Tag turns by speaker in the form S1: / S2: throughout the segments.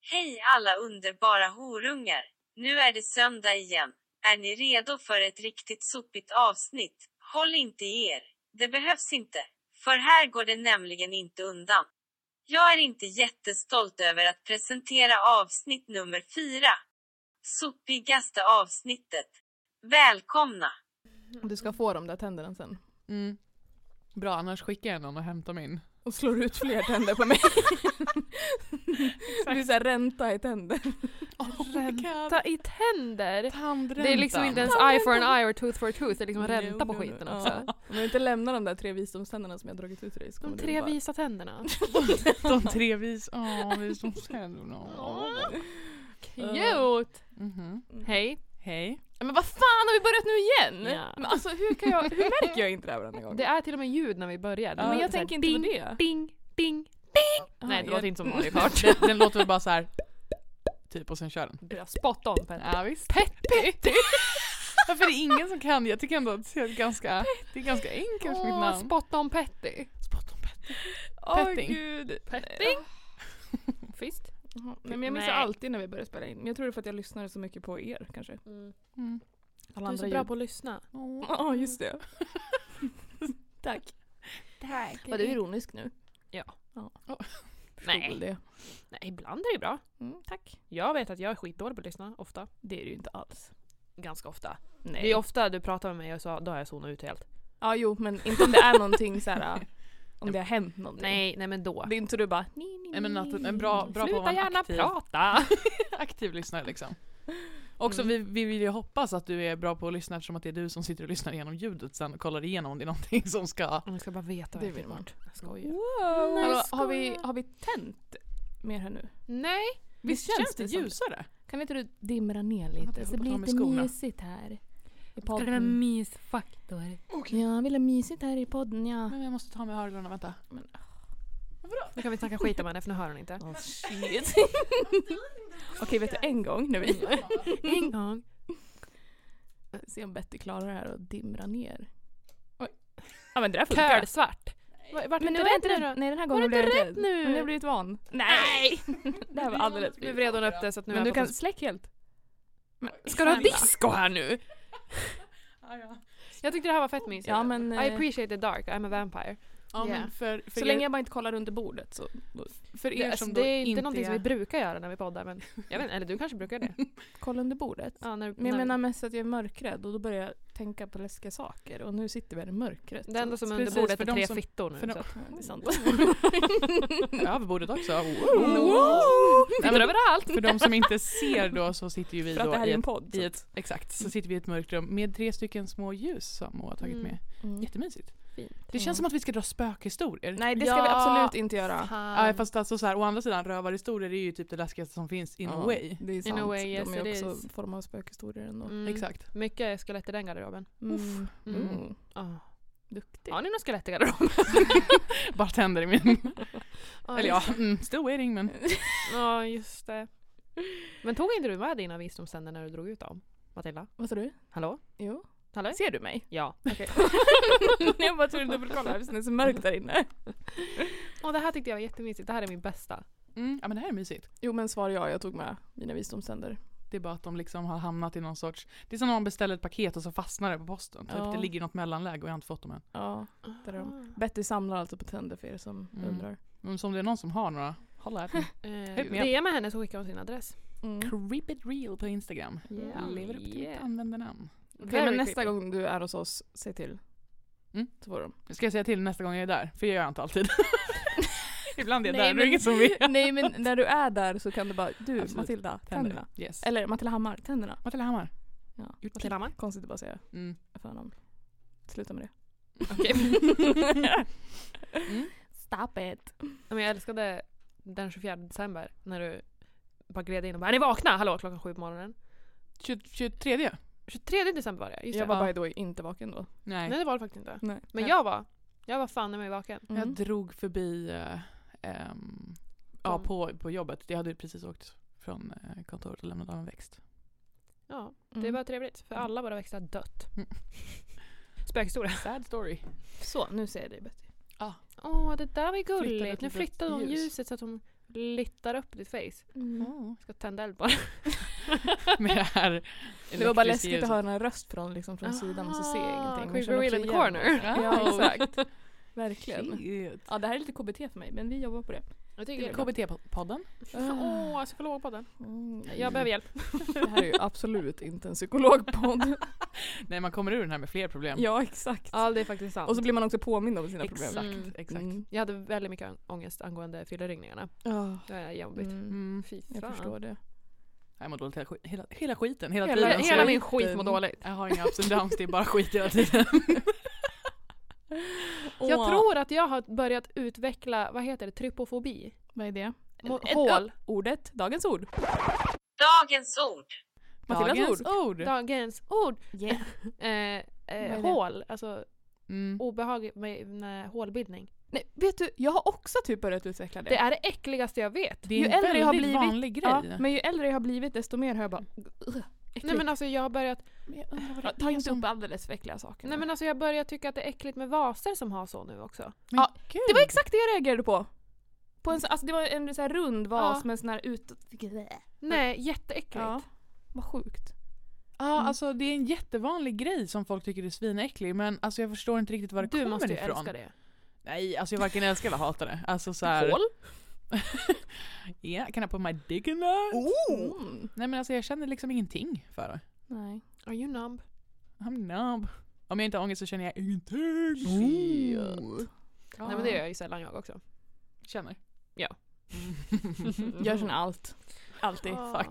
S1: Hej alla underbara horungar! Nu är det söndag igen. Är ni redo för ett riktigt sopigt avsnitt? Håll inte i er. Det behövs inte. För här går det nämligen inte undan. Jag är inte jättestolt över att presentera avsnitt nummer fyra. Sopigaste avsnittet. Välkomna!
S2: Du ska få de där tänderna sen.
S3: Mm. Bra, annars skickar jag någon och hämtar min.
S2: Och slår ut fler tänder på mig. det blir såhär ränta i tänder.
S3: Ränta.
S4: Ta i tänder!
S3: Tandräntan.
S4: Det är liksom inte ens eye for an eye or tooth for a tooth, det är liksom ränta på skiten också.
S2: Ja. Om jag inte lämnar de där tre visdomständerna som jag dragit ut ur dig så kommer
S4: De
S2: du
S4: tre
S2: bara-
S4: visa tänderna.
S3: De tre vis... Åh, visdomständerna.
S4: Cute! Mm-hmm.
S3: Mhm.
S4: Hej.
S3: Hej.
S2: Men vad fan har vi börjat nu igen?
S4: Ja.
S2: Men alltså hur, kan jag, hur märker jag inte det här varenda gång?
S4: Det är till och med ljud när vi börjar. Det
S2: Ja,
S4: är
S2: men jag
S4: så här
S2: tänker inte på
S4: ding,
S2: det.
S4: Ding, ding.
S2: Ja,
S4: Nej, det
S2: jag-
S4: låter inte som Mario Kart.
S3: Den, den låter väl bara så här. Typ och sen kör den.
S2: Bra, Spot on Petter.
S3: Ja, visst.
S4: Petty!
S3: Varför är det ingen som kan? Jag tycker ändå att det är ett ganska, det är ganska enkelt mitt
S4: Åh,
S3: namn.
S4: spot on Petty.
S3: Spot on pet.
S2: Åh
S3: Petting.
S2: gud.
S4: Petting. Fist.
S2: Jaha, Nej, men jag minns
S4: Nej.
S2: alltid när vi börjar spela in. Men jag tror det är för att jag lyssnar så mycket på er kanske.
S3: Mm.
S2: Alla andra ljud.
S4: att lyssna.
S3: Åh.
S2: Ja, just det. Tack. Tack. Var du ironisk nu? Tror
S4: Nej.
S2: det.
S4: Nej, ibland är det bra.
S2: Mm.
S4: Tack. Jag vet att jag är skitdålig på att lyssna, ofta.
S2: Det är det ju inte alls.
S4: Ganska ofta.
S2: Nej.
S4: Det är ofta du pratar med mig och så, då har jag zonat ut helt.
S2: Ja, jo, men inte om det är någonting så här. äh, Om det har hänt någonting.
S4: Nej, nej men då.
S2: Det är inte du bara ni, ni,
S3: Nej men att,
S2: ni,
S3: en bra, bra på att
S4: Sluta
S3: vara en
S4: gärna
S3: aktiv,
S4: prata!
S3: aktiv lyssnare liksom. Också
S2: Mm.
S3: vi, vi vill ju hoppas att du är bra på att lyssna eftersom att det är du som sitter och lyssnar igenom ljudet sen och kollar igenom om det är någonting som ska...
S4: Man ska bara
S2: Det
S4: veta vad jag
S2: vill
S4: fick
S2: man.
S4: bort. Jag skojar.
S2: Wow.
S4: Nej,
S2: Hallå,
S4: skoja.
S2: har, vi, har vi tänt mer här nu?
S4: Nej!
S3: Visst
S2: känns
S3: känns det
S2: det som det?
S3: ljusare?
S2: Kan inte du dimra ner
S3: Jag
S2: lite
S3: håller
S2: så
S3: på
S2: det
S3: att ta
S2: blir
S3: med
S2: lite
S3: skorna.
S2: mysigt här i
S4: Ska
S2: podden?
S4: mysfaktor?
S2: Ja, jag vill ha mysigt här i podden ja.
S3: Men jag måste ta med hörlurarna, vänta.
S4: Nu kan vi snacka skit om henne för nu hör hon inte.
S2: Oh, shit. Okej, vet du en gång när vi...
S4: En gång.
S2: Se om Betty klarar det här och dimra ner. Oj. Ja men det där funkar.
S4: Kölsvart.
S2: Va- Vart
S4: Men
S2: inte
S4: nu är
S2: rädd
S4: inte
S2: nu
S4: det-
S2: Nej den här
S4: Var
S2: gången
S4: det
S2: blev
S4: inte
S2: jag
S4: rädd
S2: inte
S4: nu?
S2: Men jag har blivit van.
S4: Nej!
S2: Det här var alldeles...
S4: Nu vred hon upp det så att nu
S2: Men
S4: är
S2: du
S4: jag
S2: kan
S4: på-
S2: släck helt. Men,
S4: Ska du ha
S2: snälla.
S4: disco här nu? Jag tyckte det här var fett mysigt.
S2: Ja men...
S4: I
S2: eh,
S4: appreciate the dark, I'm a vampire.
S3: Ja,
S4: Ja.
S3: men för, för,
S2: Så
S3: er,
S2: länge jag bara inte kollar under bordet så...
S3: för
S4: Det,
S3: er
S4: alltså,
S3: som
S4: det
S3: då
S4: är inte
S3: inte
S4: någonting som vi
S3: är...
S4: brukar göra när vi poddar men jag vet, eller du kanske brukar det?
S2: Kolla under bordet?
S4: Ja, när,
S2: Men jag
S4: när,
S2: menar mest att jag är mörkrädd och då börjar jag tänka på läskiga saker och nu sitter vi här i mörkret.
S4: det enda som är
S3: Precis,
S4: under bordet
S3: för
S4: är
S3: de
S4: tre
S3: som-
S4: fittor nu.
S3: för de-
S4: så att-
S2: Ja, det är sant.
S3: Över bordet också.
S2: Wow.
S3: Nej,
S4: Fittor
S3: men-
S4: överallt!
S3: För de som inte ser då så sitter ju vi
S2: För att det
S3: då
S2: här
S3: i
S2: är en
S3: ett,
S2: podd. så-
S3: i ett, exakt, så sitter vi i ett mörkt rum med tre stycken små ljus som Moa har tagit
S4: Mm.
S3: med.
S2: Mm.
S3: Jättemysigt.
S4: Fint.
S3: Det känns som att vi ska dra spökhistorier.
S2: Nej det ska vi
S4: Ja.
S2: absolut inte göra.
S4: Fan.
S3: Ja, fast alltså så här, å andra sidan rövarhistorier är ju typ det läskigaste som finns in
S2: Ja,
S3: a way.
S2: Det är sant.
S4: way, yes,
S2: De är
S4: it
S2: också
S4: is.
S2: en form av spökhistorier ändå.
S4: Mm.
S3: Exakt.
S4: Mycket skelett i den garderoben.
S2: Mm.
S3: Uff.
S2: Mm.
S4: Mm. Ah.
S2: Duktig.
S4: Har ni några skelett i garderoben?
S3: Bara tänder i min. Eller ja, mm, still waiting men.
S4: Ja, just det. Men tog inte du med dina visdomständer när du drog ut dem? Matilda?
S2: Vad sa du?
S4: Hallå?
S2: Jo.
S4: Hallå?
S2: Ser du mig?
S4: Ja.
S2: jag bara trodde dubbelkolla eftersom det är så mörkt där inne.
S4: Och det här tyckte jag var jättemysigt. Det här är min bästa.
S3: Mm, ja men det här är mysigt.
S2: Jo men svar ja, jag tog med mina visdomständer.
S3: Det är bara att de liksom har hamnat i någon sorts... Det är som när man beställer ett paket och så fastnar det på posten.
S2: Ja.
S3: Typ, det ligger i något mellanläge och jag har inte fått dem än.
S2: Ja.
S4: Ah.
S2: Där är de. Betty samlar alltså på tänder för er som
S3: Mm.
S2: undrar.
S3: Men som det är någon som har några, håll at me.
S4: Eh,
S3: Hit me up.
S4: DM med henne så skickar hon sin adress.
S2: Mm.
S3: Creep it real på Instagram.
S4: Yeah.
S3: Lever upp till mitt
S4: Yeah.
S3: användarnamn.
S2: Okej, men
S4: Very
S2: nästa
S4: creepy.
S2: gång du är hos oss, säg till.
S3: Mm.
S2: Så får de.
S3: Ska jag säga till nästa gång jag är där? För jag gör jag inte alltid. Ibland är jag
S2: Nej,
S3: där, men...
S2: men-
S3: det är ingen som vet.
S2: Nej men när du är där så kan du bara, du
S3: Absolut.
S2: Matilda,
S3: Tänder.
S2: tänderna.
S3: Yes.
S2: Eller Matilda Hammar, tänderna.
S3: Matilda Hammar.
S2: Ja.
S3: Gjort
S4: Matilda Hammar?
S2: Konstigt att bara säga
S3: Mm.
S2: förnamn. Sluta med det.
S4: Okej.
S3: Mm.
S2: Stop it.
S4: Men jag älskade den 24 december när du bara gled in och bara “Är ni vakna?” Hallå, klockan sju på morgonen.
S3: 20- 23?
S4: 23 december var det, just
S2: Jag
S4: det.
S2: var
S3: Ja.
S2: bara då inte vaken då.
S3: Nej.
S4: Nej, det var det faktiskt inte.
S2: Nej.
S4: Men jag var, jag var fan i mig vaken.
S2: Mm.
S3: Jag drog förbi... eh, ehm, ja,
S4: Från-
S3: på, på jobbet. Jag hade ju precis åkt från eh, kontoret och lämnat av en växt.
S4: Ja,
S2: Mm.
S4: det var trevligt. För alla våra växter har dött. Spökhistoria.
S3: Sad story.
S4: Så, nu ser jag dig Betty.
S3: Ja.
S4: Åh, det där var ju
S3: Flyttade ett
S4: gulligt. Nu
S3: litet
S4: flyttade hon
S3: ljus.
S4: ljuset så att hon littar upp ditt face.
S3: Mm.
S4: Ska tända eld bara.
S3: Med det här
S2: Det var bara
S3: elektriska
S2: läskigt att
S3: ljuset.
S2: höra den här röst från, liksom, från sidan och så ser jag
S4: Ah,
S2: ingenting. men
S4: Creepy
S2: känner
S4: Real
S2: också
S4: in the
S2: igen
S4: corner.
S2: mig.
S3: Oh.
S2: Ja, exakt. Verkligen.
S3: Shit.
S2: Ja, det här är lite KBT för mig, men vi jobbar på det.
S3: Det
S4: Jag tycker
S3: är KBT-podden.
S4: Åh, oh, psykologpodden. Mm, Jag behöver hjälp.
S2: Det här är ju absolut inte en psykologpodd.
S3: Nej, man kommer ur den här med fler problem.
S2: ja, exakt.
S4: Ja, det är faktiskt sant.
S2: Och så blir man också påmind om sina problem.
S3: Exakt,
S4: Mm.
S3: exakt.
S2: Mm.
S4: Jag hade väldigt mycket ångest angående fylleringningarna.
S2: Ja,
S4: Det är Ah, jobbigt.
S2: mm.
S3: Mm.
S4: Fy fan.
S2: Jag förstår det.
S3: Jag mår dåligt hela, sk- hela, hela skiten, hela,
S4: Hela,
S3: tiden. så
S4: hela
S3: jag-
S4: min skit mår dåligt.
S3: Jag har inga ups and downs, det är bara skit hela tiden.
S4: Jag tror att jag har börjat utveckla, vad heter det, trypofobi?
S2: Vad är det?
S4: Må-
S2: Ett
S4: Hål.
S2: Ordet, dagens ord.
S1: Dagens ord.
S2: Matildas
S3: Dagens
S2: ord.
S3: ord.
S4: Dagens ord.
S2: Yeah.
S4: Eh,
S2: är
S4: eh,
S2: det?
S4: hål, alltså
S3: Mm.
S4: obehag med, med hålbildning.
S2: Nej, vet du, jag har också typ börjat utveckla det.
S4: Det är det äckligaste jag vet.
S3: Det är
S2: ju
S3: en
S2: äldre jag har
S3: väldigt
S2: blivit-
S3: vanlig grej.
S2: ja, men ju äldre jag har blivit desto mer har jag bara...
S4: Nej men alltså jag har börjat,
S2: Ja, Ta inte upp alldeles för äckliga saker.
S4: nej, men alltså, jag börjar tycka att det är äckligt med vaser som har så nu också.
S2: Ja,
S3: gud.
S2: Det var exakt det jag reagerade på. på en, så- alltså det var en så här rund vas
S4: Ja.
S2: med en sån här utåt...
S4: Nej, jätteäckligt.
S2: Ja. Vad sjukt.
S3: Ja,
S2: Mm.
S3: alltså det är en jättevanlig grej som folk tycker är svinäcklig men alltså jag förstår inte riktigt var det
S4: Du
S3: kommer
S4: måste ju
S3: ifrån.
S4: älska det.
S3: Nej, alltså jag varken älskar eller hatar det. Alltså så här,
S4: Hål?
S3: yeah, can I put my dick in that?
S2: Mm.
S3: Nej men alltså jag känner liksom ingenting för det.
S2: Nej.
S4: Are you numb?
S3: I'm numb. Om jag inte har ångest så känner jag ingenting.
S4: Oh.
S2: Shit.
S4: Nej men det gör ju sällan jag också.
S3: Känner.
S4: Ja.
S2: Jag känner allt. Alltid.
S4: Ah.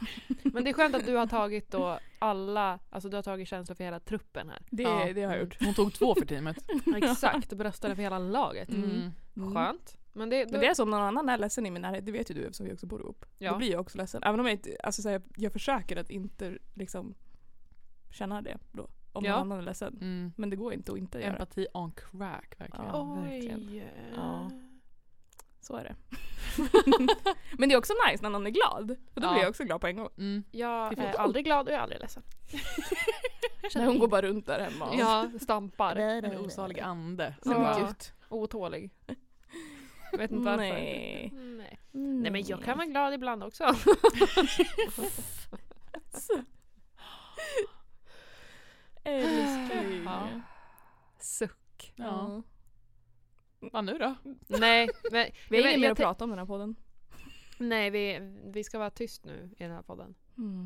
S4: Men det är skönt att du har tagit då alla, alltså du har tagit känslor för hela truppen här.
S2: Det,
S3: Ja.
S2: det har jag gjort.
S3: Hon tog två för teamet.
S4: Exakt, och bröstade för hela laget.
S2: Mm. Mm.
S4: Skönt. Men det,
S2: Men det är så om någon annan är ledsen i min närhet, det vet ju du eftersom vi också bor ihop.
S4: Ja.
S2: Då blir jag också ledsen. Även om jag inte, alltså så här, jag försöker att inte liksom känna det då. Om
S4: Ja.
S2: någon annan är ledsen.
S3: Mm.
S2: Men det går inte att inte göra.
S3: Empati on crack verkligen.
S2: Ja. verkligen.
S4: Oj.
S2: Ja. Så är det. Men det är också nice när någon är glad. För då
S3: Ja.
S2: blir jag också glad på en gång.
S3: Mm.
S4: Jag
S3: Det är
S4: är aldrig glad och jag är aldrig ledsen.
S2: När hon går bara runt där hemma och...
S4: Ja, stampar.
S3: En osalig ande.
S2: Nej,
S3: som
S2: men
S3: bara-
S4: Ja.
S2: gud.
S4: Otålig. Vet inte varför.
S2: Nej.
S4: Nej. Nej men jag kan vara glad ibland också.
S2: Älskling.
S3: Ja.
S4: Suck.
S3: Ja. Vad nu då?
S4: Nej, men,
S2: Vi har inget
S4: men jag
S2: mer att
S4: tän-
S2: prata om den här podden.
S4: Nej, vi, vi ska vara tyst nu i den här podden.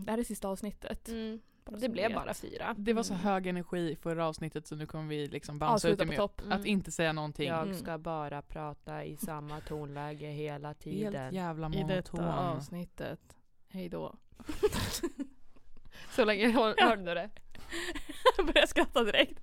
S2: Det här är sista avsnittet. Mm. Bara
S4: Det
S2: så ni
S4: blev
S2: vet.
S4: bara fyra.
S3: Det var så
S2: Mm.
S3: hög energi i förra avsnittet så nu kommer vi liksom bounce ut
S2: Avsluta
S3: det
S2: på
S3: med
S2: topp.
S4: Mm.
S3: att inte säga någonting.
S2: Mm.
S4: Jag ska bara prata i samma tonläge hela
S3: Helt
S4: tiden.
S3: jävla
S2: I
S3: monoton.
S2: detta avsnittet. Hej då.
S4: Så länge hör, hörde du det?
S2: Jag börjar skratta direkt.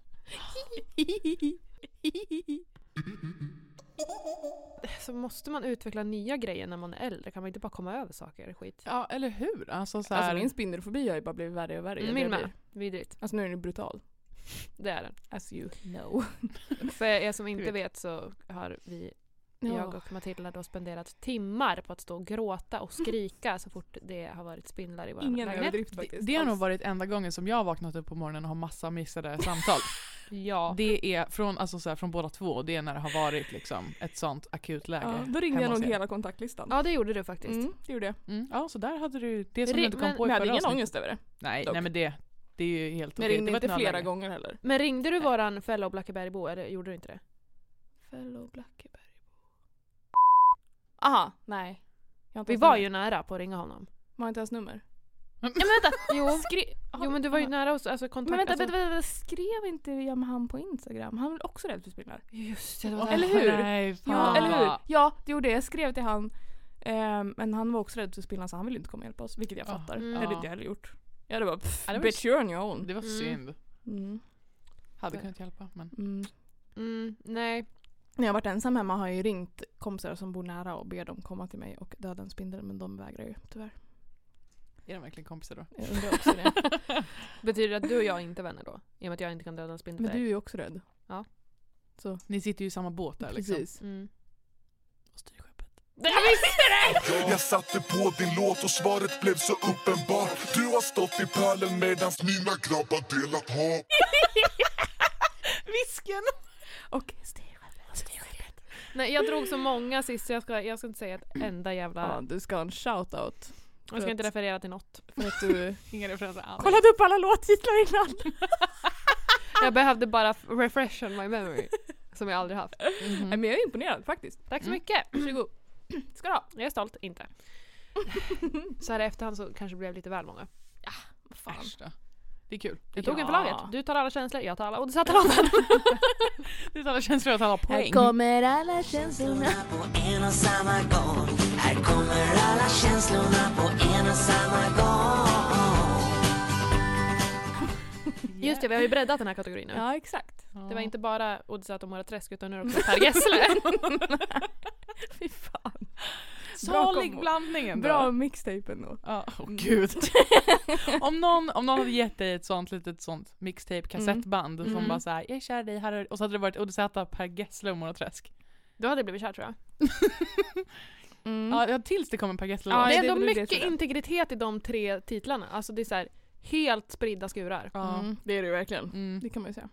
S4: Så måste man utveckla nya grejer när man är äldre? Kan man inte bara komma över saker? Skit.
S3: Ja, eller hur? Alltså så här,
S2: Alltså min spindelfobi har ju bara blivit värre och värre.
S4: Mm,
S2: Det
S4: min
S2: blir-
S4: med. Vidrigt.
S2: Alltså nu är den brutal.
S4: Det är den.
S2: As you know.
S4: För er som inte
S3: vet.
S4: vet så har vi, jag och Matilda då spenderat timmar på att stå och gråta och skrika så fort det har varit spindlar i vår
S2: Mm. Ingen
S4: lägenhet.
S2: överdrift
S3: det,
S2: faktiskt. Alltså.
S3: det har nog
S2: Alls.
S3: varit enda gången som jag har vaknat upp på morgonen och har massa missade samtal.
S4: Ja.
S3: Det är från, alltså så här, från båda två, det är när det har varit liksom ett sånt akut läge.
S2: Ja, då ringde jag
S3: hemma hos
S2: nog
S3: er.
S2: hela kontaktlistan.
S4: ja, det gjorde du faktiskt.
S2: Mm, det gjorde jag.
S3: Mm, ja, så där hade du det som
S4: Ring-
S3: du inte kom
S4: men-
S3: på i
S2: Men jag hade
S3: förra
S2: ingen
S3: avsnittet.
S2: ångest över det.
S3: Nej,
S2: dock.
S3: nej men det, det är ju helt
S2: Men jag
S3: okej.
S2: ringde
S3: Det var typ ett
S2: inte flera
S3: nödläge.
S2: gånger heller.
S4: Men ringde
S2: Eh.
S4: du våran fellow Blackebergbo eller gjorde du inte det?
S2: Fellow Blackeberg. Aha, nej. Jag har inte
S4: Vi
S2: ens
S4: var
S2: nummer.
S4: ju nära på att ringa honom.
S2: Man har inte ens nummer.
S4: Ja, men vänta! Jo,
S2: Skri-
S4: jo men du var ju nära oss. Alltså kontakt...
S2: Men vänta,
S4: alltså,
S2: vänta, vänta, vänta, skrev inte jag med han på Instagram? Han var också rädd för spindlar?
S4: Just det, det var
S3: Åh,
S4: där.
S2: Eller hur?
S3: Nej,
S2: Jo,
S3: fan.
S2: eller hur? Ja, det gjorde jag. Jag skrev till han. ehm, men han var också rädd för spindlar så han ville inte komma och hjälpa oss. Vilket jag
S3: Ja.
S2: fattar.
S4: Mm.
S2: Det hade
S3: Ja.
S2: inte jag heller gjort. Jag hade bara pff,
S3: Ja, det var
S2: bitch you're on your own.
S3: Det var
S4: Mm.
S3: synd.
S2: Mm.
S3: Hade
S2: Det-
S3: kunnat hjälpa men.
S2: Mm.
S4: Mm, nej.
S2: När jag varit ensam hemma har jag ju ringt kompisar som bor nära och ber dem komma till mig och döda en spindel men de vägrar ju tyvärr.
S3: Är de verkligen kompisar då?
S2: Jag undrar också det.
S4: Betyder det att du och jag inte är vänner då? I och med att jag inte kan döda en spindel?
S2: Men du är ju också rädd.
S3: Ni sitter ju i samma båt där liksom.
S2: Precis.
S4: Mm.
S3: Och styr skeppet.
S4: Jag visste det!
S5: Jag satte på din låt och svaret blev så uppenbart Du har stått i pölen medans mina grabbar delat hat
S3: Visken!
S2: Och styrskeppet.
S4: Nej, jag drog så många sist så jag ska, jag ska inte säga ett enda
S2: Ja,
S4: jävla...
S2: du ska ha en shout-out.
S4: Jag ska inte referera till något.
S2: För att du
S3: Inga referenser alls.
S2: kollade upp alla låttitlar innan.
S4: Jag behövde bara f- refresh on my memory. Som jag aldrig haft.
S2: Nej, men jag är imponerad faktiskt.
S4: Tack så
S3: Mm.
S4: mycket!
S2: Varsågod.
S4: Ska du ha. Jag är stolt, inte. Så här i efterhand så kanske det blev lite väl många.
S2: Fan.
S3: Äsch då. Det är kul.
S4: Jag tog en för
S2: Ja.
S4: laget. Du tar alla känslor, jag tar alla oddssatta låtar.
S3: Det är alla känslor att alla poäng.
S2: kommer alla känslorna.
S6: känslorna på en och samma gång Här kommer alla känslorna på en och samma gång
S4: Just det, vi har ju breddat den här kategorin nu.
S2: Ja, exakt.
S4: Det var inte bara oddssatta och Mora Träsk utan nu är det också Per Gessle.
S2: Fy fan.
S3: Salig
S2: kom-
S3: blandning ändå.
S2: Bra mixtape ändå.
S3: Ja, åh gud. om, någon, om någon hade gett dig ett sånt litet sånt mixtape-kassettband som
S2: Mm.
S3: bara såhär, jag är kär i dig, här är... och så hade det varit Oddesäta, Per Gessle och Mora Träsk.
S4: Då hade det blivit kär tror jag.
S2: Mm.
S3: Ja, ja, tills det kom en Per Gessle
S2: Ja,
S4: det är
S2: det
S4: ändå
S2: blir det,
S4: mycket
S2: tror jag.
S4: integritet i de tre titlarna. Alltså det är så här, helt spridda skurar.
S3: ja.
S2: Mm, det är det verkligen.
S3: Mm.
S2: Det kan man ju säga.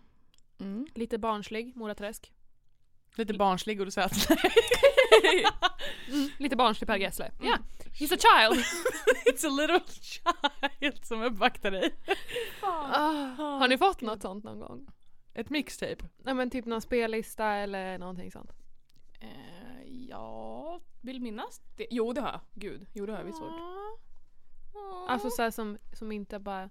S2: Mm.
S4: Lite barnslig, Mora Träsk.
S3: Lite barnslig Oddesäta.
S2: Mm.
S4: Lite barnslig Per Gessle. Ja, he's a child!
S3: It's a little child som uppvaktar dig.
S4: Ah, har ni fått något sånt någon gång?
S3: Ett mixtape.
S4: Nej men typ någon spellista eller någonting sånt.
S2: Eh, ja, vill minnas det. Jo, det har jag. Gud, jo det har jag visst gjort.
S4: Ah. Alltså såhär som, som inte bara...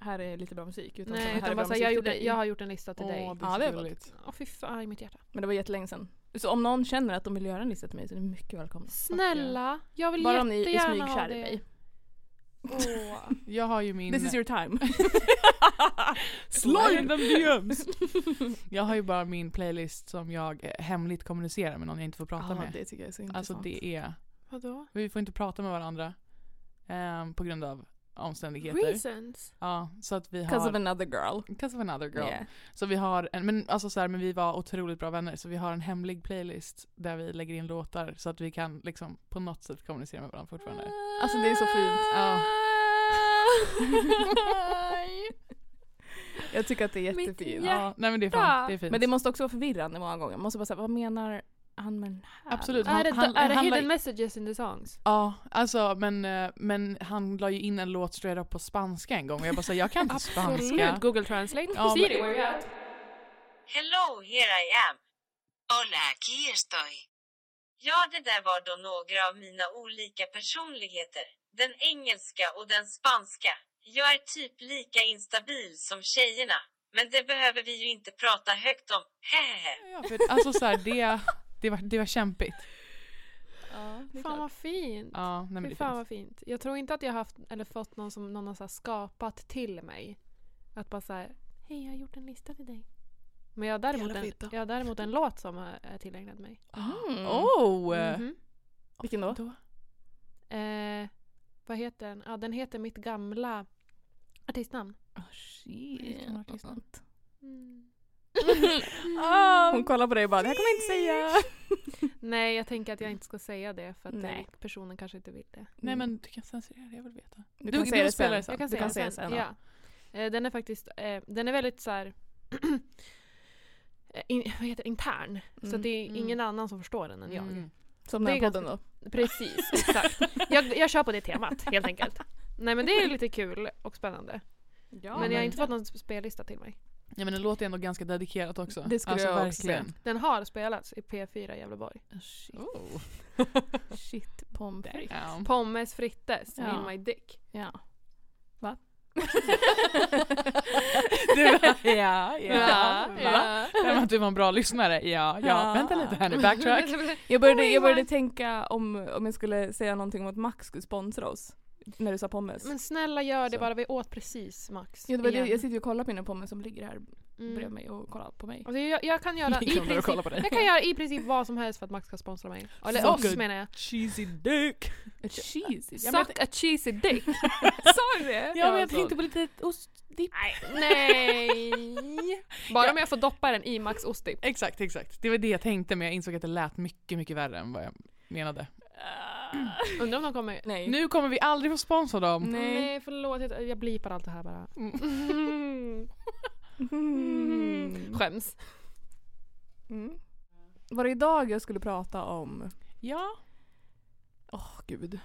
S2: Här är lite bra musik. Utan
S4: nej
S2: här är
S4: utan
S2: bra
S4: bara såhär, jag,
S2: musik
S4: gjorde,
S2: till dig.
S4: jag har gjort en lista till
S3: Åh,
S4: dig.
S3: det
S2: Ja,
S3: är
S2: det
S3: så
S2: är
S3: gulligt.
S4: Åh fy fan i mitt hjärta.
S2: Men det var jättelänge sedan. Så om någon känner att de vill göra en lista till mig så är ni mycket välkomna.
S4: Snälla, jag vill
S2: Bara om ni är
S4: jättegärna ha
S2: smygkär
S4: det.
S2: i mig.
S4: Åh.
S3: Jag har ju min...
S2: This is your time.
S3: Slide them DMs! jag har ju bara min playlist som jag eh, hemligt kommunicerar med någon jag inte får prata med.
S2: det tycker jag är så
S3: alltså det är...
S4: Vadå?
S3: Vi får inte prata med varandra ehm, på grund av omständigheter.
S4: Reasons?
S3: Ja, så att vi
S2: Because
S3: har...
S2: of another girl.
S3: Because of another girl.
S2: Yeah.
S3: Så vi har en, men alltså så här, men vi var otroligt bra vänner så vi har en hemlig playlist där vi lägger in låtar så att vi kan liksom på något sätt kommunicera med varandra fortfarande.
S2: Alltså det är så fint.
S3: Ja.
S2: Jag tycker att det är
S4: Mitt
S2: jättefint.
S4: hjärta.
S3: Ja, nej men det är, fan, det är fint.
S2: Men det måste också vara förvirrande många gånger. Man måste bara säga, vad menar han med den här?
S3: Absolut.
S4: är det,
S3: han-
S4: är det
S3: han la-
S4: hidden messages in the songs?
S3: Ja, alltså men, eh, men han la ju in en låt straight up på spanska en gång och jag bara säger jag kan inte spanska.
S4: Google translate.
S3: Ja, men-
S4: Siri, where you at?
S1: Hello, here I am. Hola, aquí estoy. Ja, det där var då några av mina olika personligheter. Den engelska och den spanska. Jag är typ lika instabil som tjejerna. Men det behöver vi ju inte prata högt om. Hehehe.
S3: Ja, för, alltså så här, det, det, var, det var kämpigt.
S4: Fan vad fint.
S3: Ja, nej men det
S4: Fy
S3: är
S4: fan
S3: fint.
S4: vad fint. Jag tror inte att jag haft eller fått någon som någon har så här skapat till mig. Att bara såhär, hej jag har gjort en lista till dig. Men jag har däremot,
S2: Jävla
S4: en,
S2: fitta.
S4: jag har däremot en låt som är är tillägnad mig.
S2: Mm.
S3: Oh!
S4: Mhm.
S2: Vilken då?
S4: Eh, vad heter den? Ja, den heter Mitt gamla artistnamn.
S2: Oh, shit.
S3: Vilken artistnamn? Mm. Ah.
S2: Hon kollar på dig och bara, det här kommer jag inte säga.
S4: Nej, jag tänker att jag inte ska säga det för att
S2: Nej.
S4: det- personen kanske inte vill det.
S3: Nej men du kan censurera det, jag vill veta.
S2: du
S3: du-
S2: kan
S3: du
S2: säga det
S3: spelar
S2: sen.
S3: det sen.
S4: Jag kan
S2: du
S4: säga
S2: kan
S4: den
S2: säga det
S4: sen.
S2: sen. Ja.
S4: Ja. Eh, Den är faktiskt, eh, den är väldigt så här eh, in, vad heter det? intern. Så
S2: Mm,
S4: att det är
S3: mm.
S4: ingen annan som förstår den än jag.
S3: Mm.
S2: Som
S4: Det
S2: den
S4: är
S2: här podden då.
S4: Precis, exakt. Jag, jag kör på det temat helt enkelt. Nej men det är lite kul och spännande. men jag har
S3: men-
S4: inte fått någon spellista till mig.
S3: Ja men den låter ändå ganska dedikerat också.
S2: Det skulle
S3: alltså,
S2: jag också
S3: verkligen.
S4: Den har spelats i P4 i Gävleborg.
S2: Oh, shit.
S3: Oh.
S2: Shit, pommes frites.
S3: Damn.
S4: Pommes frites
S2: Ja.
S4: in my dick.
S2: Ja. Va?
S3: Det var- ja,
S2: Ja,
S3: Va? Det var att du var en bra lyssnare. Ja, ja.
S2: Ja.
S3: Vänta lite här nu, backtrack.
S2: Jag började,
S4: Oj,
S2: jag började
S4: vad-
S2: tänka om, om jag skulle säga någonting om att Max skulle sponsra oss. När du sa pommes.
S4: Men snälla gör det
S2: Så.
S4: bara, vi åt precis Max.
S2: ja, det var det,
S4: igen.
S2: jag sitter ju och kollar på mina pommes som ligger här
S4: Mm.
S2: bredvid mig och kollar på mig.
S4: Alltså, jag, jag, kan göra i
S3: Ligger de där och
S4: princip,
S3: kollar på dig?
S4: jag kan göra i princip vad som helst för att Max ska sponsra mig. Eller
S3: Fuck
S4: oss
S3: it.
S4: menar jag.
S3: Cheesy dick.
S2: Jesus.
S3: Ja, men-
S4: Suck a cheesy dick.
S2: Sa du det?
S3: Ja, men jag tänkte på lite ostdipp.
S4: Nej. Bara om jag får doppa den i Max ostdipp.
S3: Exakt, exakt. Det var det jag tänkte men jag insåg att det lät mycket, mycket värre än vad jag menade.
S4: Undrar om de kommer...
S2: Nej.
S3: Nu kommer vi aldrig få sponsra dem.
S4: Nej,
S2: Nej.
S4: förlåt. Jag, jag blipar allt det här bara.
S3: Mm.
S4: Mm.
S2: Mm.
S4: Skäms.
S2: Mm. Var det idag jag skulle prata om,
S3: Ja,
S2: åh gud,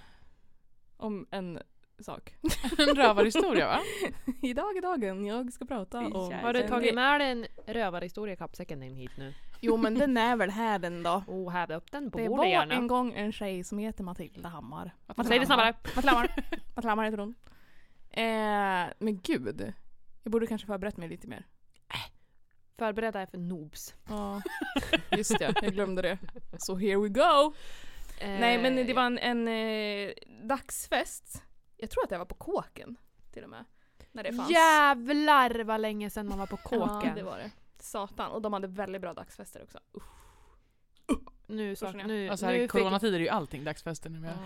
S2: om en sak.
S3: en rövarhistoria va?
S2: idag är dagen jag ska prata om...
S3: Jävlar.
S4: Har du
S3: Sen
S4: tagit
S3: det-
S4: med dig en rövarhistoria i kappsäcken in hit nu?
S2: Jo men den är väl här den då.
S4: Oh, häv upp den på
S2: Det
S4: bordet
S2: var
S4: gärna.
S2: en gång en tjej som heter Matilda Hammar.
S4: Säg det snabbare.
S2: Matilda Hammar. Matilda Hammar heter hon. Eh, men gud. Jag borde kanske förberett mig lite mer.
S4: Förbered dig för noobs. Eh,
S2: Ja, just det. Jag glömde det. So here we go! Nej men det var en, en eh, dagsfest. Jag tror att jag var på kåken till och med. När det fanns.
S4: Jävlar vad länge sedan man var på
S2: Ja,
S4: kåken.
S2: det var det. Satan. Och de hade väldigt bra dagsfester också. Usch.
S4: Nu, sak,
S2: Förstår ni?
S4: nu,
S3: Alltså här
S4: nu
S3: i
S4: fick jag
S3: coronatider är ju allting dagsfester nu.
S2: Mm.
S3: Ja.